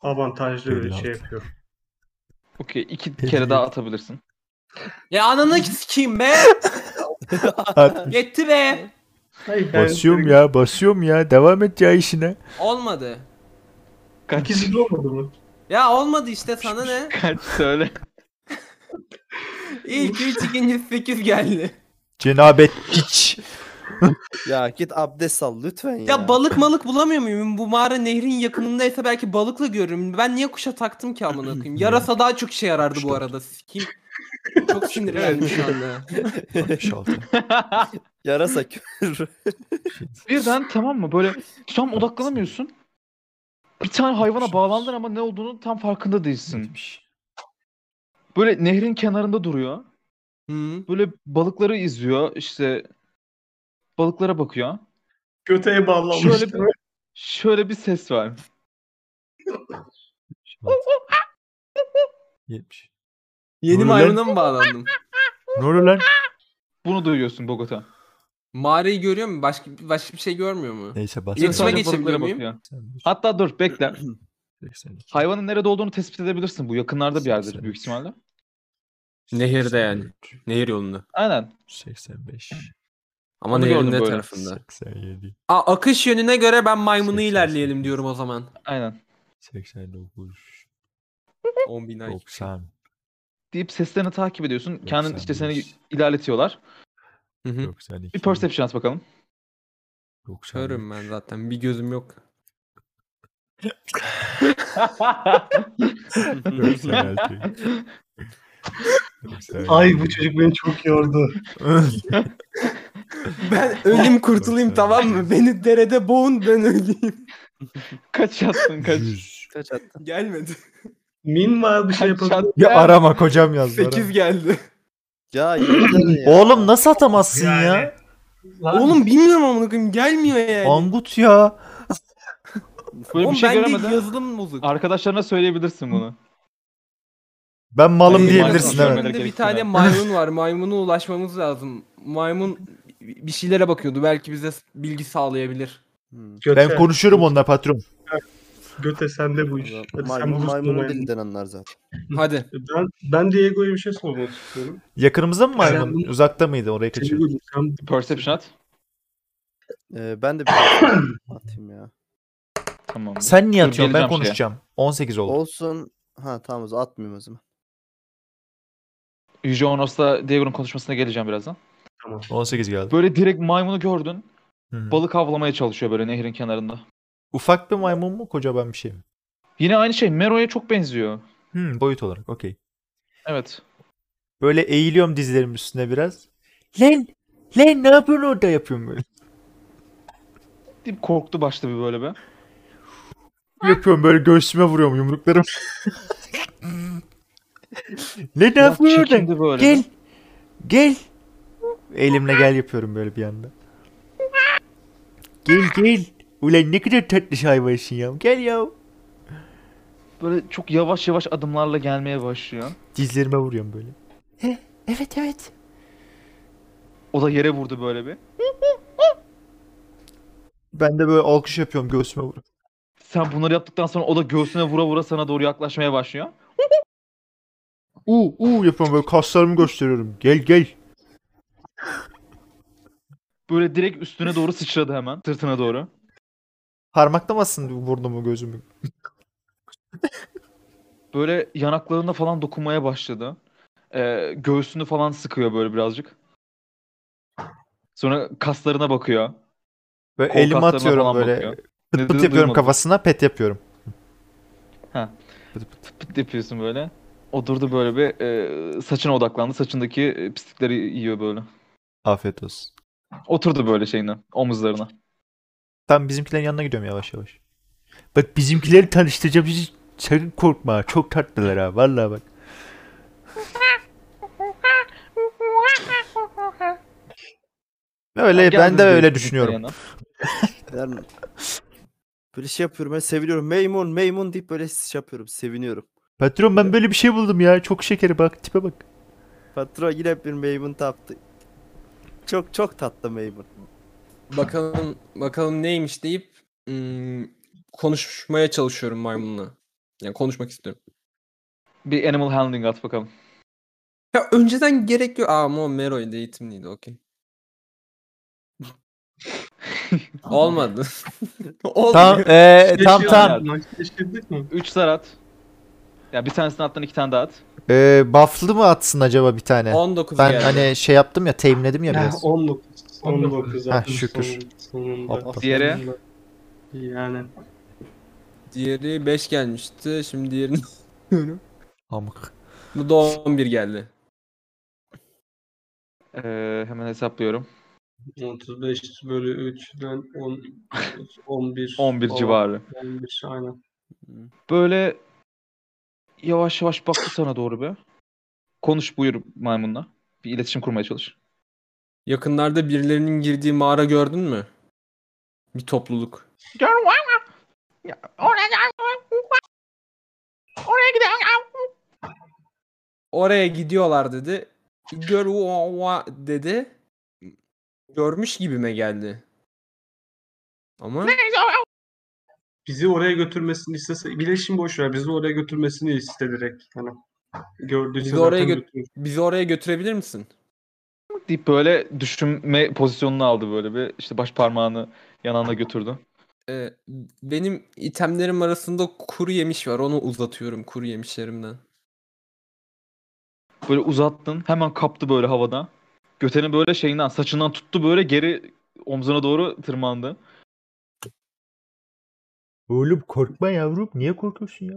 avantajlı bir Elli altı. şey yapıyorum. Okey iki Elli kere daha yedi. atabilirsin. ya ananı sikeyim be yetti be Hayır, ben- Basıyorum ya basıyorum ya devam et ya işine. olmadı. Kaç, İkisi de olmadı mı? Ya olmadı işte sana ne? kaç söyle. İlk 3 ikinci 8 geldi. Cenabet hiç. Ya git abdest al lütfen ya. Ya balık malık bulamıyor muyum? Bu mağara nehrin yakınındaysa belki balıkla görürüm. Ben niye kuşa taktım ki amına koyayım? Yarasa daha çok işe yarardı bu arada. Sikeyim. Çok sinirlendim şu anda. 66. Yarasa kür. Birden tamam mı böyle tam odaklanamıyorsun. Bir tane hayvana bağlandın şey. ama ne olduğunu tam farkında değilsin. Böyle nehrin kenarında duruyor. Hı. Böyle balıkları izliyor işte balıklara bakıyor. Köteye bağlanmış. Şöyle bir, şöyle bir ses var. 70. Yeni Nuri maymuna mı bağlandım? Ne oluyor lan? Bunu duyuyorsun Bogota. Mağarayı görüyor mu? Başka başka bir şey görmüyor mu? Neyse bas. İletişime Sadece geçebiliyor balıklara muyum? bakıyor. 81, Hatta dur bekle. 82. Hayvanın nerede olduğunu tespit edebilirsin. Bu yakınlarda bir yerdedir Seksen. büyük ihtimalle. Nehirde yani. 84, Nehir yolunda. 85. Ama Onu nehrin gördüm ne böyle. tarafında? 87. Aa, akış yönüne göre ben maymunu Seksen. ilerleyelim diyorum o zaman. Aynen. 89. 10 bin ay. 90. Deyip seslerini takip ediyorsun. Kendin işte seni 91. ilerletiyorlar. Hı hı. 92. Bir perception at bakalım. 90. Körüm ben zaten. Bir gözüm yok. 96. 97. Ay bu çocuk beni çok yordu. Ben öleyim kurtulayım tamam mı? Beni derede boğun ben öleyim. kaç yattın kaç? 100. Kaç attın? Gelmedi. Minval bir şey Kaç yapabilir. yattın? Ya aramak hocam yazdı. 8 geldi. Ya yeter ya. Oğlum nasıl atamazsın Yani. ya? Lan, Oğlum bilmiyorum amına koyayım gelmiyor yani. Angut ya. Böyle Oğlum bir şey bende göremeden yazılım bozuk. arkadaşlarına söyleyebilirsin bunu. Ben malım Ee, diyebilirsin maymun hemen. görmedim. Bende bir gerektiğini. tane maymun var. Maymuna ulaşmamız lazım. Maymun bir şeylere bakıyordu. Belki bize bilgi sağlayabilir. Hmm. göte, Ben konuşurum onunla patron. göte sende bu iş. Hadi sen Maymun bulursun maymunu maymunu. dilinden anlar zaten. Hadi. Ben, ben Diego'ya bir şey sormak istiyorum. Yakınımızda mı Sen- maymun? Uzakta mıydı? Oraya kaçıyor. Diego'cum sen Perception at. Ee, ben de bir şey atayım ya. Tamam. Sen niye Dur, atıyorsun? Ben geleceğim şeye. konuşacağım. 18 oldu. Olsun. Ha tamam o zaman atmayayım o zaman. Yüce Honos'la Diego'nun konuşmasına geleceğim birazdan. 18 geldi. Böyle direkt maymunu gördün. Hı hı. Balık avlamaya çalışıyor böyle nehrin kenarında. Ufak bir maymun mu? Kocaman bir şey mi? Yine aynı şey Mero'ya çok benziyor. Hı, boyut olarak. Okey. Evet. Böyle eğiliyorum dizlerimin üstüne biraz. Len! Len ne yapıyorsun orada? Yapıyorum böyle. Deyip korktu başta bir böyle be. yapıyorum böyle göğsüme vuruyorum yumruklarım. ne ne Biraz yapıyorsun? orada? çekindi böyle. Gel. Gel. Elimle gel yapıyorum böyle bir anda. Gel gel. Ulan ne kadar tatlış hayvansın ya. Gel ya. Böyle çok yavaş yavaş adımlarla gelmeye başlıyor. Dizlerime vuruyorum böyle. evet evet. O da yere vurdu böyle bir. Ben de böyle alkış yapıyorum göğsüme vuruyorum. Sen bunları yaptıktan sonra o da göğsüne vura vura sana doğru yaklaşmaya başlıyor. Uu uu yapıyorum böyle kaslarımı gösteriyorum. Gel gel. Böyle direkt üstüne doğru sıçradı hemen. Sırtına doğru. Parmaklamasın burnumu gözümü. Böyle yanaklarına falan dokunmaya başladı. Ee, göğsünü falan sıkıyor böyle birazcık. Sonra kaslarına bakıyor. Böyle Kol elimi kaslarına atıyorum falan böyle. bakıyor. Pıt Ne pıt dediğini yapıyorum duymadım. kafasına pet yapıyorum. Pıt pıt yapıyorsun böyle. O durdu böyle bir e, saçına odaklandı. Saçındaki e, pislikleri yiyor böyle. Afiyet olsun. Oturdu böyle şeyine, omuzlarına. Ben bizimkilerin yanına gidiyorum yavaş yavaş. Bak bizimkileri tanıştıracağım hiç sakın korkma. Çok tatlılar ha vallahi bak. Öyle ben Geldiniz de böyle öyle çocukların düşünüyorum. yanına. Yani böyle şey yapıyorum. Ben seviniyorum. Meymun, meymun deyip böyle şey yapıyorum. Seviniyorum. Patron ben böyle bir şey buldum ya. Çok şekeri bak tipe bak. Patron yine bir meymun taptı. Çok çok tatlı meymun. Bakalım bakalım neymiş deyip hmm, konuşmaya çalışıyorum maymunla. Yani konuşmak istiyorum. Bir animal handling at bakalım. Ya önceden gerek yok. Aa ama o Mero'ydu eğitimliydi okey. Olmadı. Olmuyor. Tamam eee Keşke- tamam tamam. Keşke- 3 zar at. Ya bir tanesini attın iki tane daha at. Eee Ee, buff'lı mı atsın acaba bir tane? 19 Ben geldi. hani şey yaptım ya teminledim ya Ya biraz. 19. 19 19 Ha, zaten şükür. sonun- sonunda. Hoppa. Diğeri? Sonunda. Yani Diğeri 5 gelmişti. Şimdi diğerini Amık. Bu da 11 geldi. Ee, hemen hesaplıyorum. 35 bölü 3'den 10, 11. 11 falan. civarı. 11 aynen. Böyle yavaş yavaş baktı sana doğru be. Konuş buyur maymunla. Bir iletişim kurmaya çalış. Yakınlarda birilerinin girdiği mağara gördün mü? Bir topluluk. Oraya gidiyorlar dedi. Gör ua ua dedi. Görmüş gibime geldi. Ama Bizi oraya götürmesini istese bileşim boş ver. Bizi oraya götürmesini iste direkt. Hani gördüyse Bizi oraya zaten gö- götürür. bizi oraya götürebilir misin? Deyip böyle düşünme pozisyonunu aldı böyle bir. İşte baş parmağını yanağına götürdü. Ee, benim itemlerim arasında kuru yemiş var. Onu uzatıyorum kuru yemişlerimden. Böyle uzattın. Hemen kaptı böyle havada. Götenin böyle şeyinden, saçından tuttu böyle geri omzuna doğru tırmandı. Oğlum korkma yavrum. Niye korkuyorsun ya?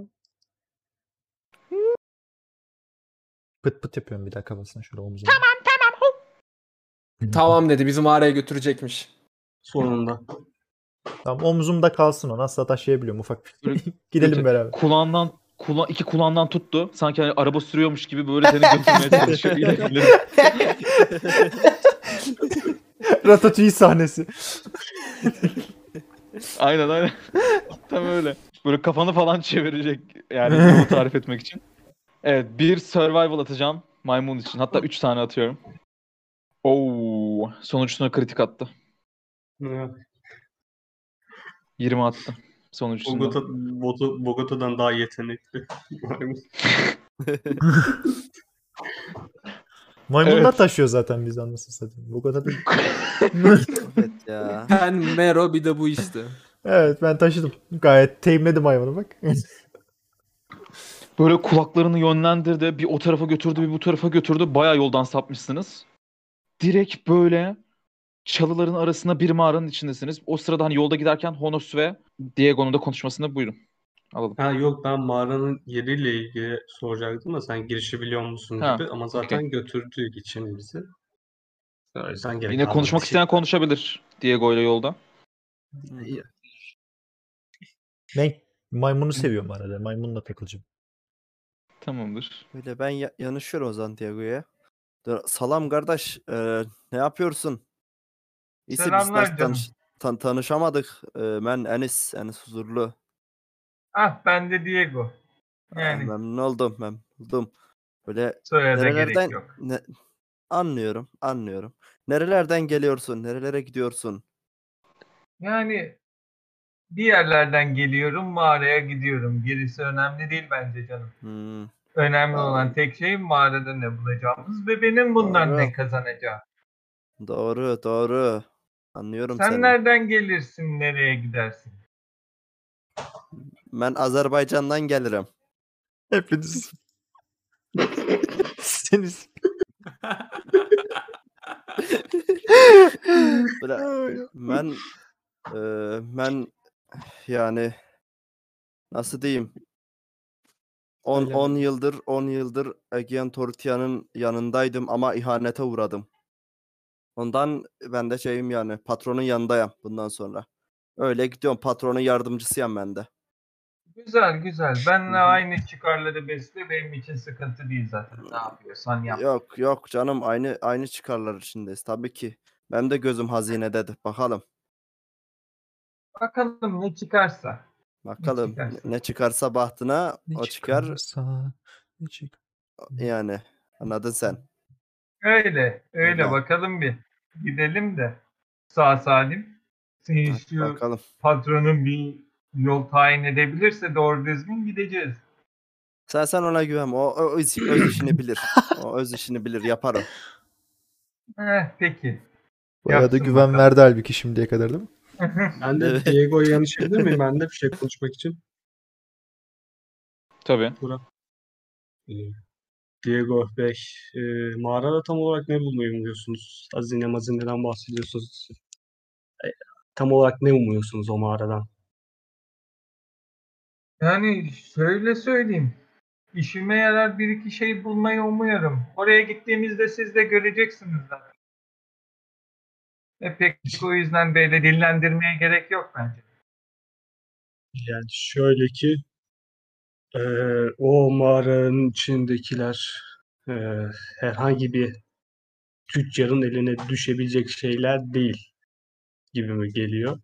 Pıt pıt yapıyorum bir daha kafasına şöyle omzuna. Tamam tamam. Tamam dedi. Bizi mağaraya götürecekmiş. Sonunda. Tamam omzumda kalsın o. Nasıl taşıyabiliyorum ufak bir Böyle şey. Gidelim götür- beraber. Kulağından kula, iki kulağından tuttu. Sanki hani araba sürüyormuş gibi böyle seni götürmeye çalışıyor. İleri- ileri. Ratatouille sahnesi. aynen aynen. Tam öyle. Böyle kafanı falan çevirecek yani yolu tarif etmek için. Evet bir survival atacağım maymun için. Hatta 3 tane atıyorum. Oo, sonuçta kritik attı. Evet. 20 attı. Sonuçta. Bogota, Bogota- Bogota'dan daha yetenekli. Maymunlar Evet. taşıyor zaten biz anlasın satayım. Bu kadar değil. Evet ya. Ben Mero bir de bu işte. Evet ben taşıdım. Gayet teyimledim hayvanı bak. Böyle kulaklarını yönlendirdi. Bir o tarafa götürdü, bir bu tarafa götürdü. Bayağı yoldan sapmışsınız. Direkt böyle çalıların arasında bir mağaranın içindesiniz. O sırada hani yolda giderken Honos ve Diego'nun da konuşmasını buyurun. Alalım. Ha yok ben mağaranın yeriyle ilgili soracaktım da sen girişi biliyor musun Ha, gibi ama zaten götürdüğü için bizi. O yüzden gerek Yine kalmadı. konuşmak isteyen konuşabilir Diego ile yolda. ne? Maymunu seviyorum arada. Maymunla takılacağım. Tamamdır. Böyle ben ya- yanışıyorum Santiago'ya. Dur, Salam kardeş, eee, ne yapıyorsun? İyisi biz tanış- Selamlar canım. tan- tanışamadık. Eee, ben Enis, Enis Huzurlu. Ah ben de Diego. Aa, Yani Memnun oldum, memnun oldum. Böyle soyada nerelerden... gerek yok. ne- Anlıyorum, anlıyorum. Nerelerden geliyorsun, nerelere gidiyorsun? Yani bir yerlerden geliyorum mağaraya gidiyorum. Gerisi önemli değil bence canım. Hmm. Önemli Aa. olan tek şey mağarada ne bulacağımız ve benim bundan Doğru. ne kazanacağım. Doğru, doğru. Anlıyorum Sen seni. nereden gelirsin, nereye gidersin? Ben Azerbaycan'dan gelirim. Hepiniz. Seniz. Böyle ben eee, ben yani nasıl diyeyim? 10 Öyle mi? 10 yıldır 10 yıldır Egean Tortia'nın yanındaydım ama ihanete uğradım. Ondan ben de şeyim yani patronun yanındayım bundan sonra. Öyle gidiyorum patronun yardımcısıyım ben de. Güzel güzel. Benle aynı çıkarları besle benim için sıkıntı değil zaten. Ne yapıyorsan yap. Yok yok canım aynı aynı çıkarlar içindeyiz tabii ki. Ben de gözüm hazinededir bakalım. Bakalım ne çıkarsa. Bakalım ne- çıkarsa. ne çıkarsa bahtına o çıkar Ne çıkar? yani anladın sen. Öyle öyle Öyle. bakalım bir. Gidelim de sağ salim. Senin Bak- şu Bakalım. patronun bir yol tayin edebilirse doğru düzgün gideceğiz. Sen sen ona güven. O, o öz, öz işini bilir. O öz işini bilir. Yapar o. Heh, Eh, peki. Bayağı da Yapsın güven bakalım. verdi halbuki şimdiye kadar değil mi? Ben de Evet. Diego'ya yanışabilir miyim? Ben de bir şey konuşmak için. Tabii. Ee, Diego Bey, e, mağarada tam olarak ne bulmayı umuyorsunuz? Hazine mazineden bahsediyorsunuz. E, tam olarak ne umuyorsunuz o mağaradan? Yani şöyle söyleyeyim. İşime yarar bir iki şey bulmayı umuyorum. Oraya gittiğimizde siz de göreceksiniz zaten. E pek o yüzden böyle dillendirmeye gerek yok bence. Yani şöyle ki e, o mağaranın içindekiler e, herhangi bir tüccarın eline düşebilecek şeyler değil gibi mi geliyor?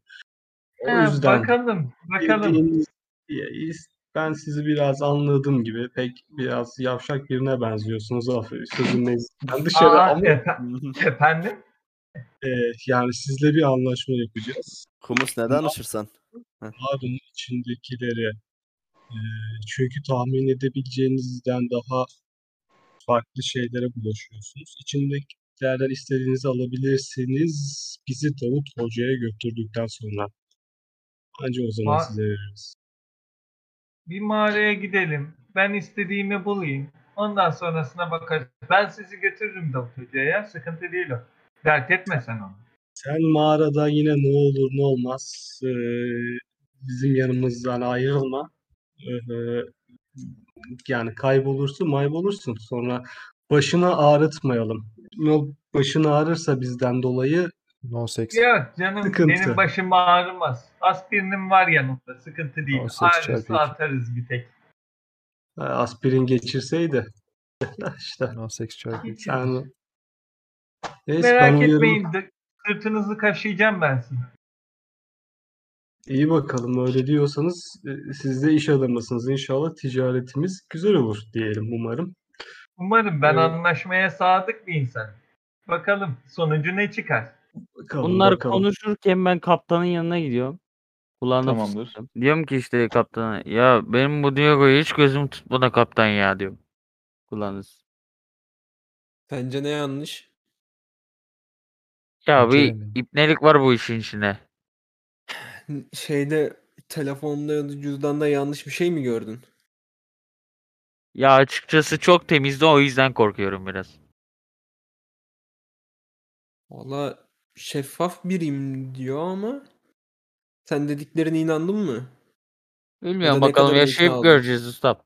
O He, yüzden bakalım, bakalım. Bildiğiniz- Ya, is- Ben sizi biraz anladığım gibi pek biraz yavşak birine benziyorsunuz. Aferin, Sözün meclisinden dışarı Aa, ama efe- efendim? e, yani sizle bir anlaşma yapacağız. Kumus neden ışırsan? Mağaranın içindekileri e, çünkü tahmin edebileceğinizden daha farklı şeylere bulaşıyorsunuz. İçindekilerden istediğinizi alabilirsiniz. Bizi Davut Hoca'ya götürdükten sonra. Ancak o zaman Ma- size veririz. Bir mağaraya gidelim. Ben istediğimi bulayım. Ondan sonrasına bakarız. Ben sizi götürürüm Davut Hoca'ya. Sıkıntı değil o. Dert etme sen onu. Sen mağarada yine ne olur ne olmaz eee, bizim yanımızdan ayrılma. Eee, yani kaybolursun maybolursun sonra başını ağrıtmayalım. Yol başını ağrırsa bizden dolayı No sex. Yok canım Sıkıntı. benim başım ağrımaz. Aspirinim var yanımda sıkıntı değil. Tamam, seç Ağrısı şey çarpı iki. atarız bir tek. e, aspirin geçirseydi işte No sex çarpı. Hiç yani neyse ben Merak uyarım. etmeyin dı- sırtınızı kaşıyacağım ben size. İyi bakalım öyle diyorsanız e, siz de iş adamısınız. İnşallah ticaretimiz güzel olur diyelim umarım. Umarım ben Evet. anlaşmaya sadık bir insan. Bakalım sonucu ne çıkar? Bakalım Bunlar bakalım. konuşurken ben kaptanın yanına gidiyorum. Kulağına Tamamdır. fısıldıyorum. Diyorum ki işte kaptana ya benim bu Diego'yu hiç gözüm tutmadı kaptan ya diyorum. Kulağınız. Sence ne yanlış? Ya bir Beceremiyorum. ipnelik var bu işin içine. Şeyde telefonda ya da cüzdanda yanlış bir şey mi gördün? Ya açıkçası çok temizdi o yüzden korkuyorum biraz. Valla şeffaf biriyim diyor ama sen dediklerine inandın mı? Bilmiyorum ne bakalım kadar ikna yaşayıp oldun? göreceğiz ustam.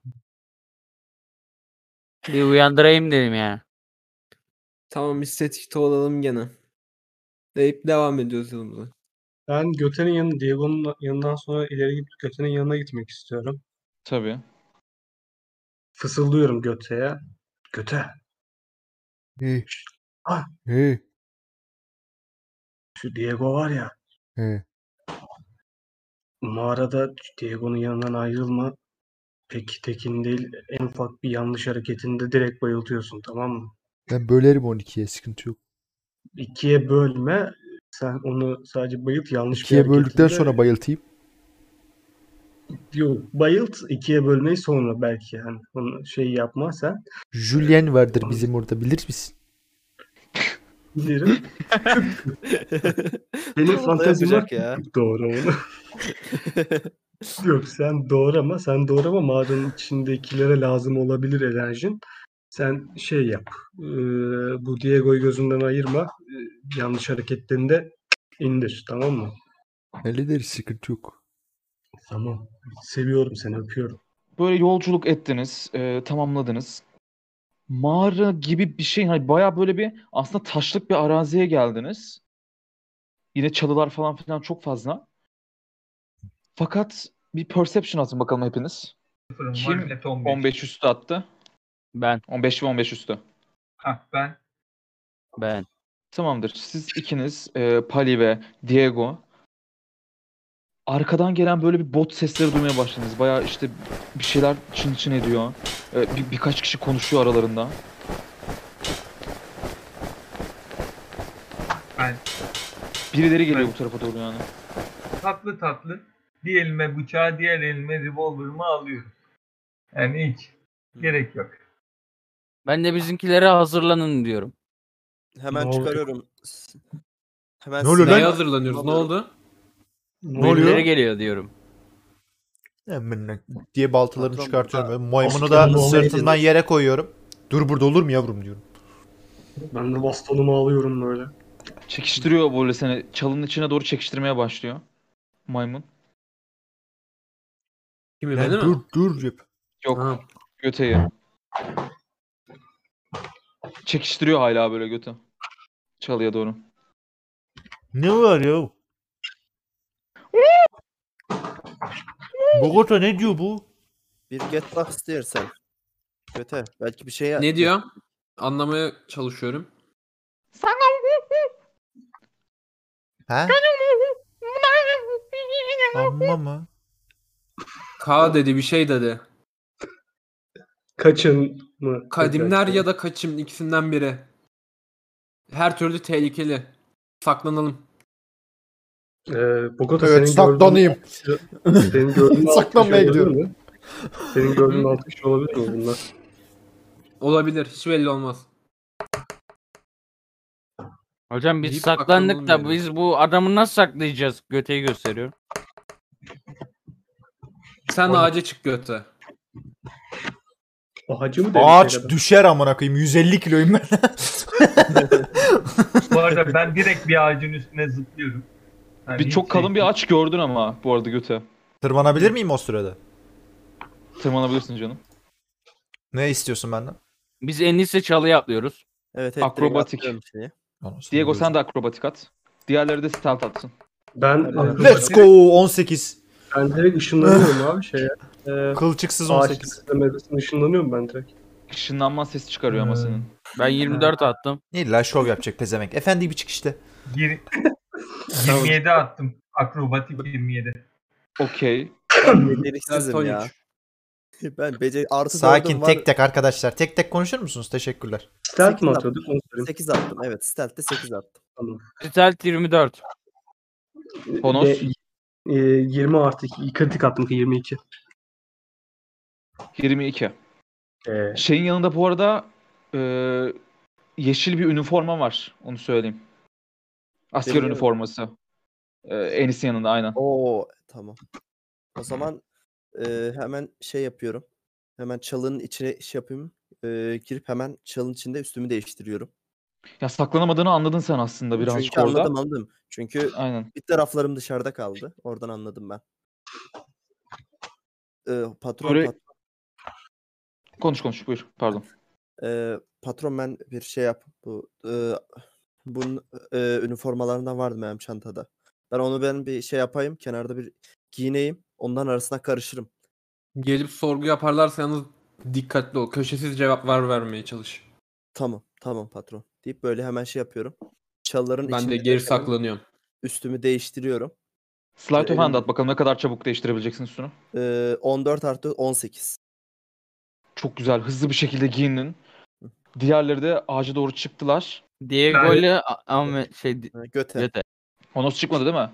Bir uyandırayım dedim ya. Tamam istatikte olalım gene. Deyip devam ediyoruz yolumuza. Ben Göte'nin yanı, Diego'nun yanından sonra ileri gidip Göte'nin yanına gitmek istiyorum. Tabii. Fısıldıyorum Göte'ye. Göte, He. Ah. He. şu Diego var ya, He. mağarada Diego'nun yanından ayrılma. Peki tekin değil, en ufak bir yanlış hareketinde direkt bayıltıyorsun, tamam mı? Ben bölerim 12'ye sıkıntı yok. İkiye bölme, sen onu sadece bayılt, yanlış bir İkiye böldükten hareketinde- sonra bayıltayım. Yok, bayılt, ikiye bölmeyi sonra belki yani onu şey yapma sen. Julien vardır bizim orada bilir misin? Bilirim. Benim fantezim Yapacak ya. Doğru onu. Yok sen doğrama. Sen doğrama. Mağaranın içindekilere lazım olabilir enerjin. Sen şey yap. eee, bu Diego'yu gözünden ayırma. eee, yanlış hareketlerinde indir. Tamam mı? Hallederiz sıkıntı yok. Tamam. Seviyorum seni. Öpüyorum. Böyle yolculuk ettiniz, e, tamamladınız. Mağara gibi bir şey, hani bayağı böyle bir aslında taşlık bir araziye geldiniz. Yine çalılar falan filan çok fazla. Fakat bir perception atın bakalım hepiniz. Sıfırım Kim? var millet 15. 15 üstü attı. Ben. 15 ve 15 üstü. Hah, ben Ben. Tamamdır. Siz ikiniz, e, Pali ve Diego arkadan gelen böyle bir bot sesleri duymaya başladınız. Bayağı işte bir şeyler çın çın ediyor. E, bir- birkaç kişi konuşuyor aralarında. Ben. Birileri Ben. geliyor bu tarafa doğru yani. tatlı tatlı bir elime bıçağı diğer elime revolver'ımı alıyorum. Yani hiç gerek yok. Ben de bizimkilere hazırlanın diyorum. Hemen Ne oldu? çıkarıyorum. S- Hemen Ne oluyor silah- lan? Neye hazırlanıyoruz? Ne oldu? Ne oluyor? Birileri geliyor diyorum. Hemen diye baltalarını Patron, çıkartıyorum. aa, Böyle Maymunu patron da olaydı. sırtından yere koyuyorum. Dur burada olur mu yavrum diyorum. Ben de bastonumu alıyorum böyle. Çekiştiriyor böyle seni. Çalının içine doğru çekiştirmeye başlıyor. Maymun. Kimi Lan beni dur mi? dur yap. Yok Ha. göteyi. Çekiştiriyor hala böyle götü. Çalıya doğru. Ne var ya? Bogota ne diyor bu? Bir get back istersen. Göte. Belki bir şey Ne diyor? Anlamaya çalışıyorum. He? Amma mı? K dedi bir şey dedi. Kaçın mı? Kadimler ya da kaçım ikisinden biri. Her türlü tehlikeli. Saklanalım. Ee, Bogota Evet, senin saklanayım. gördüğün... Senin gördüğün altı kişi Saklanmaya olabilir gidiyorum. mi? Senin gördüğün altı kişi olabilir mi bunlar? Olabilir. Hiç belli olmaz. Hocam biz Deyip saklandık da saklanalım biz bu adamı nasıl saklayacağız? Göteyi gösteriyor. Sen Oğlum. ağaca çık göte. Ağacı mı demiş Ağaç herhalde? düşer amına koyayım. 150 kiloyum ben. Bu arada ben direkt bir ağacın üstüne zıplıyorum. Yani Bir hiç çok kalın şey- bir ağaç gördün ama bu arada göte. Tırmanabilir miyim o sırada? Tırmanabilirsin canım. Ne istiyorsun benden? Biz en iyisi çalıya atlıyoruz. Evet, evet, direkt Akrobatik. atlıyorum şeyi. Ondan sonra Diego sen göreceğiz. de akrobatik at. Diğerleri de stealth atsın. Ben, Tamam. Let's go 18. ben direkt ışınlanıyorum abi şeye. Ee, Kılçıksız ağaç 18. titremedesine ışınlanıyorum ben direkt. Işınlanma sesi çıkarıyor ama Ee. Hmm. senin. Ben 24 attım. İlla şov yapacak pezemek. Efendi bir çık işte. Yir- 27 attım. Akrobatik 27. Okey. Ben Biraz beceriksizim son ya. üç. Ben beceri artı Sakin dördüm var. tek tek arkadaşlar. Tek tek konuşur musunuz? Teşekkürler. Stealth mi Sekiz atıyorduk onu söyleyeyim. 8 attım. Evet, stealth'te 8 attım. Stealth 24. Honos. Ve, e, 20 artı 2. Kritik attım 22. 22. Ee, Şeyin yanında bu arada e, yeşil bir üniforma var. Onu söyleyeyim. Asker Benim- üniforması. E, Enis'in yanında aynen. Oo, tamam. O zaman e, hemen şey yapıyorum. Hemen çalının içine şey yapayım. E, girip hemen çalın içinde üstümü değiştiriyorum. Ya saklanamadığını anladın sen aslında birazcık Çünkü orada. anladım anladım. Çünkü Aynen. bir taraflarım dışarıda kaldı. Oradan anladım ben. E, patron Böyle- pat- Konuş konuş buyur. Pardon. Şey, Eee, patron ben bir şey yap. Bu eee, bunun eee, üniformalarından vardı benim çantada. Ben onu ben bir şey yapayım. Kenarda bir giyineyim. Ondan arasına karışırım. Gelip sorgu yaparlarsa yalnız dikkatli ol. Köşesiz cevaplar vermeye çalış. Tamam tamam patron deyip böyle hemen şey yapıyorum. Çalıların Ben içinde de geri dolaşıyorum, saklanıyorum. Üstümü değiştiriyorum. Slide of hand Ee, at bakalım ne kadar çabuk değiştirebileceksin üstünü. Ee, 14 artı 18. Çok güzel hızlı bir şekilde giyindin. Diğerleri de ağaca doğru çıktılar. Diego ile A- Ahmet şey Di- Ha, Göte. Göte. Honos çıkmadı değil mi?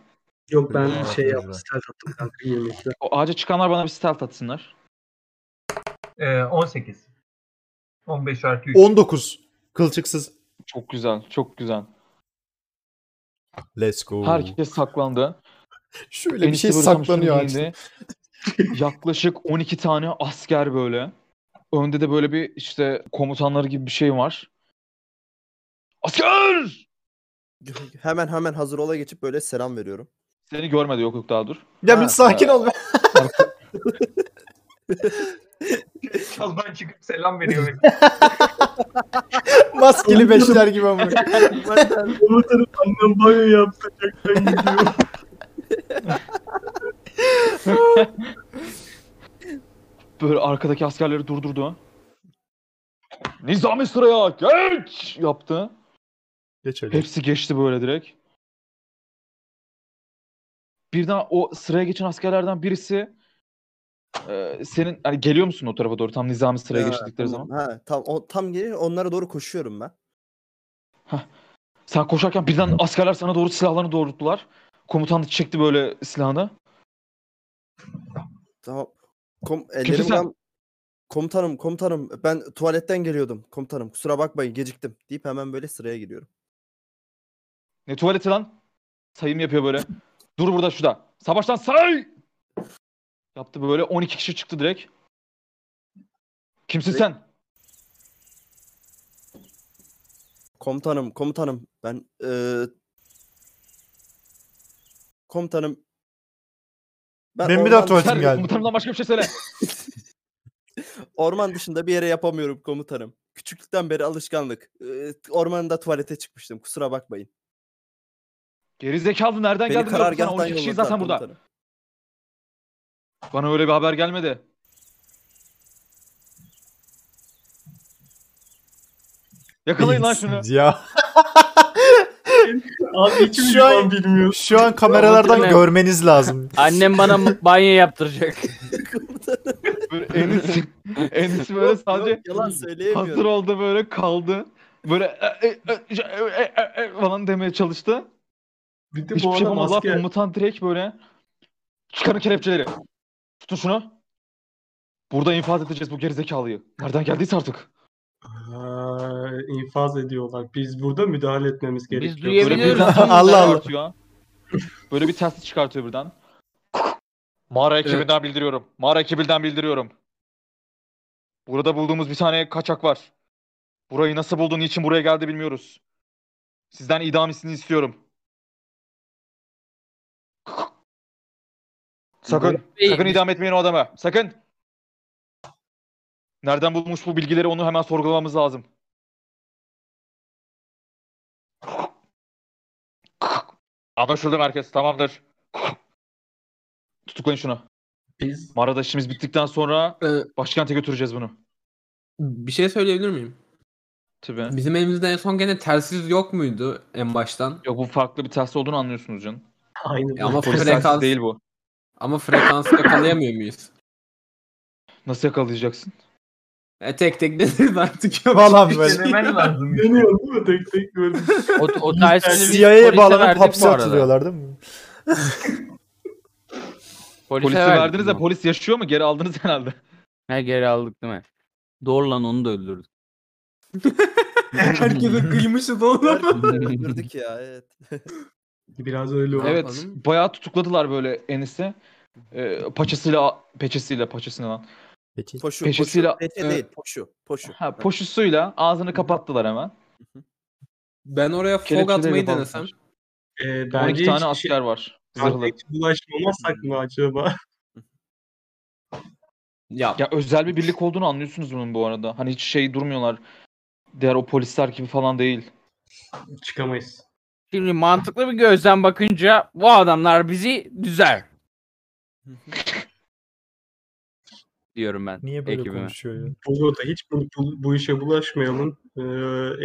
Yok ben Evet, şey evet. yaptım. Stealth attım kanka 22. O ağaca çıkanlar bana bir stealth atsınlar. Ee, 18. 15 artı 3. 19. Kılçıksız. Çok güzel, çok güzel. Let's go. Herkes saklandı. Şöyle bir Enişte şey böyle tam üstüne saklanıyor ağaçta. giyindi. Yaklaşık 12 tane asker böyle. Önde de böyle bir işte komutanları gibi bir şey var. Asker! Hemen hemen hazır ola geçip böyle selam veriyorum. Seni görmedi yok yok daha dur. Ya bir Ha, sakin ol be. Çaldan çıkıp selam veriyor. Maskeli beşler gibi ama. Komutanım annem banyo yaptı. Ben gidiyorum. Böyle arkadaki askerleri durdurdu. Nizami sıraya geç yaptı. Geç öyle. Hepsi geçti böyle direkt. Birden o sıraya geçen askerlerden birisi e, senin hani geliyor musun o tarafa doğru tam Nizami sıraya Ha, geçtikleri tamam. zaman? Ha, tam, o, tam geliyor. Onlara doğru koşuyorum ben. Sen koşarken birden askerler sana doğru silahlarını doğrulttular. Komutan da çekti böyle silahını. Tamam. Kom ellerim sen? gam- Komutanım, komutanım ben tuvaletten geliyordum. Komutanım kusura bakmayın geciktim deyip hemen böyle sıraya giriyorum. Ne tuvaleti lan? Sayım yapıyor böyle. Dur burada şurada. Savaştan say! Yaptı böyle 12 kişi çıktı direkt. Kimsin sen? Komutanım, komutanım ben e, eee Komutanım Ben bir daha orman tuvalete dışında- Sen geldi. komutanımdan başka bir şey söyle. Orman dışında bir yere yapamıyorum komutanım. Küçüklükten beri alışkanlık. Eee, ormanda tuvalete çıkmıştım. Kusura bakmayın. Geri zekalı nereden Beni geldin? diyorum sana. karargahtan 12 kişiyiz yolladılar zaten burada. komutanım. Bana öyle bir haber gelmedi. Yakalayın lan şunu. Ya Abi hiçbir Şu an- şey bilmiyor. şu an kameralardan Ama- görmeniz lazım. Annem bana m- banyo yaptıracak. Böyle Enis, Enis böyle sadece Yok, yalan hazır söyleyemiyorum. oldu böyle kaldı. Böyle e, e, e, e, e, e falan demeye çalıştı. Bir de Hiçbir bu şey adam yapamadılar. asker. Komutan direkt böyle çıkarın kelepçeleri. Tutun şunu. Burada infaz edeceğiz bu gerizekalıyı. Nereden geldiyse artık. Aa, Ee, infaz ediyorlar. Biz burada müdahale etmemiz gerekiyor. duyabiliyoruz. Böyle birden Biliyoruz. tüm Allah Allah. çıkartıyor. Böyle bir ters çıkartıyor birden. Mağara ekibinden bildiriyorum. Mağara ekibinden bildiriyorum. Burada bulduğumuz bir tane kaçak var. Burayı nasıl buldu, niçin buraya geldi bilmiyoruz. Sizden idamisini istiyorum. Sakın, Bey, sakın biz- idam etmeyin o adamı. Sakın. Nereden bulmuş bu bilgileri onu hemen sorgulamamız lazım. Anlaşıldı merkez. Tamamdır. Tutuklayın şunu. Biz Mağarada işimiz bittikten sonra Ee, başkente götüreceğiz bunu. bir şey söyleyebilir miyim? Tabii. Bizim elimizde en son gene telsiz yok muydu en baştan? Yok bu farklı bir test olduğunu anlıyorsunuz canım. aynı Ya ama Polis frekans telsizi değil bu. Ama frekansı yakalayamıyor muyuz? Nasıl yakalayacaksın? E tek tek deniriz artık şey yok. Falan İşte böyle. demen lazım. Dönüyor değil mi? Tek tek böyle. o, o telsizi biz CIA'ye polise bağlanıp verdik hapse bu arada. atılıyorlar değil mi? Polise, Polise verdik verdiniz de bunu. polis yaşıyor mu? Geri aldınız herhalde. Ha, geri aldık değil mi? Doğru lan onu da öldürdük. Herkese kıymışız onu. Öldürdük ya evet. Biraz öyle oldu. evet. yapalım? Bayağı tutukladılar böyle Enis'i. Ee, paçasıyla, peçesiyle, paçasına lan. Peki. Poşu, Peşesiyle- poşu. Peçe Evet. değil, poşu, poşu. Ha, poşusuyla ağzını kapattılar hemen. Ben oraya fog Kelepçeleri atmayı bağladılar. denesem. Ee, 12 bence tane şey- hiç- asker var. Kanka Zırhlı. hiç bulaşmamasak mı acaba? Ya Ya özel bir birlik olduğunu anlıyorsunuz bunun bu arada. Hani hiç şey durmuyorlar. Diğer o polisler gibi falan değil. Çıkamayız. Şimdi mantıklı bir gözden bakınca bu adamlar bizi düzer. diyorum ben. Niye böyle ekibime. konuşuyor ya? Bolu da hiç bu, bu, bu işe bulaşmayalım. Ee,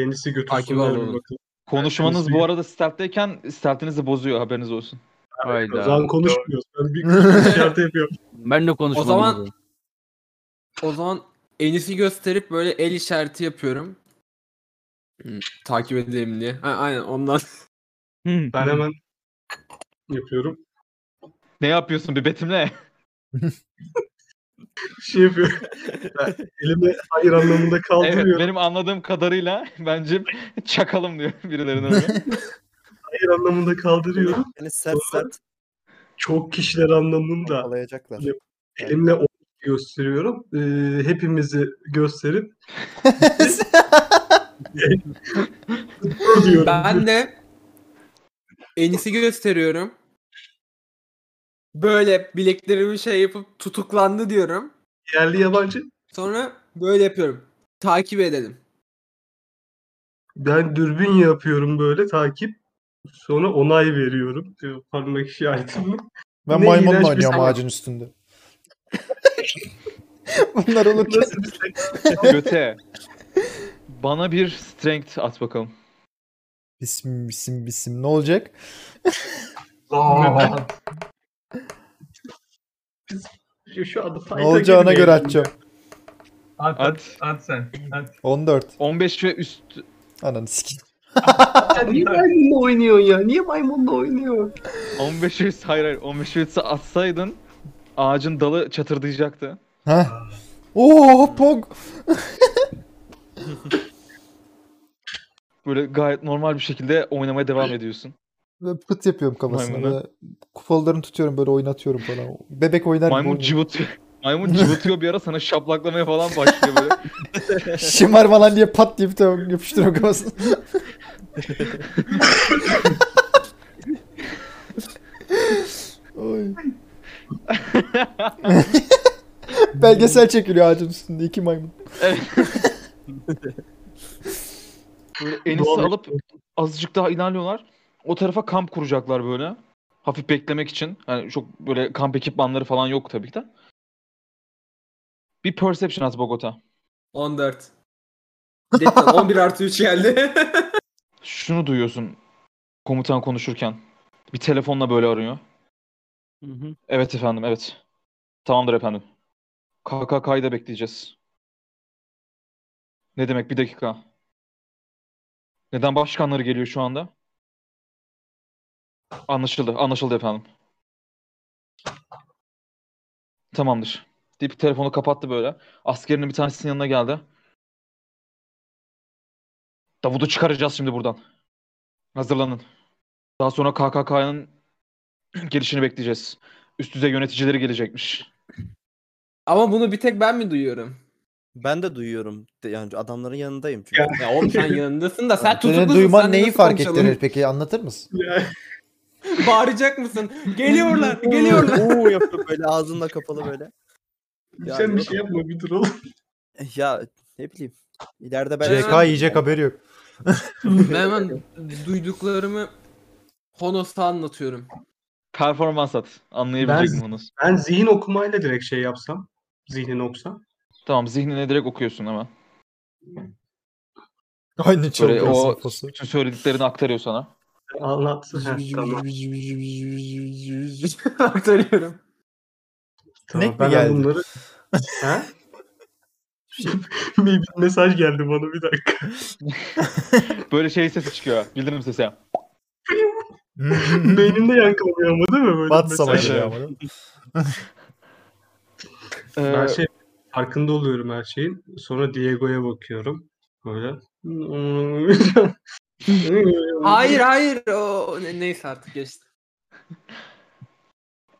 en iyisi Takip götürsünler. bir alalım. bakalım. Konuşmanız bu arada stealth'teyken stealth'inizi bozuyor haberiniz olsun. Hayda. Ozan konuşmuyor. Ben bir işaret yapıyorum. Ben de konuşmadım. O zaman- O zaman enisi gösterip böyle el işareti yapıyorum. Hmm, takip edelim diye. Ha, aynen ondan. Hmm. Hı. Ben hemen yapıyorum. Ne yapıyorsun bir betimle? Şey yapıyorum. Ben elimi hayır anlamında evet kaldırıyorum. benim anladığım kadarıyla bence çakalım diyor birilerine. Hayır anlamında kaldırıyorum. Yani sert sert Çok kişiler anlamında. kovalayacaklar. Elimle o gösteriyorum. Ee, hepimizi gösterip "Dur" diyorum. Ben de enisi gösteriyorum. Böyle bileklerimi şey yapıp tutuklandı diyorum. Yerli yabancı. Sonra böyle yapıyorum. Takip edelim. Ben dürbün yapıyorum böyle takip. Sonra onay veriyorum. Diyor, Parmak işaretimle. Ben Ne iğrenç maymunla bir oynuyorum salak. ağacın üstünde. Bunlar olurken Nasıl bir şey? Göte. Bana bir strength at bakalım. bisim bisim bisim ne olacak? Zaaat. Şu- Şu adı Ne olacağına göre atacağım. At, at, At. at sen. At. 14. 15 ve üst. Ananı sikeyim. niye maymunla oynuyorsun ya? Niye maymunla oynuyorsun? 15 ve üst. Hayır hayır. 15 ve üstü atsaydın ağacın dalı çatırdayacaktı. Ha. Oo pog. Böyle gayet normal bir şekilde oynamaya devam ediyorsun. Ve pıt yapıyorum kafasına. Maymunu. Ve kupalarını tutuyorum böyle oynatıyorum falan. Bebek oynar gibi Maymun oynuyor. cıvıtıyor. Maymun cıvıtıyor bir ara sana şaplaklamaya falan başlıyor böyle. Şımar falan diye pat diye bir tane yapıştırıyorum kafasına. Oy. Belgesel çekiliyor ağacın üstünde iki maymun. Böyle enisi alıp azıcık daha ilerliyorlar. O tarafa kamp kuracaklar böyle. Hafif beklemek için. Yani çok böyle kamp ekipmanları falan yok tabii ki de. Bir perception at Bogota. 14. Detlan 11 artı 3 geldi. Şunu duyuyorsun komutan konuşurken. Bir telefonla böyle arıyor. Hı hı. Evet efendim evet. Tamamdır efendim. KKK'yı da bekleyeceğiz. Ne demek bir dakika. Neden başkanları geliyor şu anda? Anlaşıldı. Anlaşıldı efendim. Tamamdır. Deyip telefonu kapattı böyle. Askerinin bir tanesinin yanına geldi. Davut'u çıkaracağız şimdi buradan. Hazırlanın. Daha sonra KKK'nın gelişini bekleyeceğiz. Üst düzey yöneticileri gelecekmiş. Ama bunu bir tek ben mi duyuyorum? Ben de duyuyorum. De- Yani adamların yanındayım çünkü. Ya oğlum sen yanındasın da sen tutuklusun. Senin sen duyman de neyi nasıl fark konuşalım? ettirir peki anlatır mısın? Bağıracak mısın? Geliyorlar, geliyorlar. Oo yapıyor böyle ağzınla kapalı böyle. Sen Yani, bir şey yapma bir dur oğlum. ya ne bileyim. İleride ben CK yiyecek haberi yok. ben hemen duyduklarımı Honos'a anlatıyorum. Performans at. Anlayabilecek Ben- mi bunu? Ben zihin okumayla direkt şey yapsam. Zihnini okusam. Tamam zihnine direkt okuyorsun hemen. Aynı Böyle çalıyor o sınıfosu. bütün söylediklerini aktarıyor sana. Anlatsın. Ha, tamam. Aktarıyorum. tamam. mi Ben geldi? bunları... ha? bir bir mesaj geldi bana bir dakika. Böyle şey sesi çıkıyor. Bildirim sesi. Beynimde yankılanıyor ama değil mi? Böyle Bat mesaj? savaşı evet. ya. bu. Ee, Ben şey farkında oluyorum her şeyin. Sonra Diego'ya bakıyorum. Böyle. Hayır hayır. O, ne- neyse artık geçti.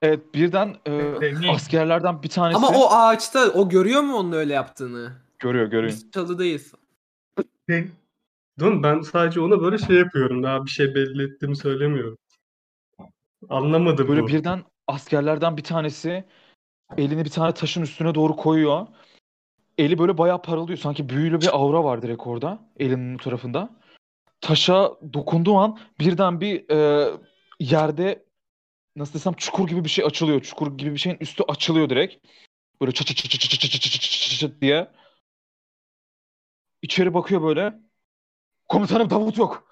Evet birden e, askerlerden bir tanesi Ama o ağaçta o görüyor mu onun öyle yaptığını? görüyor görüyor. Biz çalıdayız. Ben, Değil mi? Ben sadece ona böyle şey yapıyorum. Daha bir şey belli ettiğimi söylemiyorum. Anlamadı Böyle bu. birden askerlerden bir tanesi elini bir tane taşın üstüne doğru koyuyor. Eli böyle bayağı parıldıyor. Sanki büyülü bir aura var direkt orada. Elinin bu tarafında. taşa dokunduğu an birden bir e, yerde nasıl desem çukur gibi bir şey açılıyor. Çukur gibi bir şeyin üstü açılıyor direkt. Böyle çat çat çat çat çat çat çat çat çat çat çat çat diye. İçeri bakıyor böyle. Komutanım tabut yok.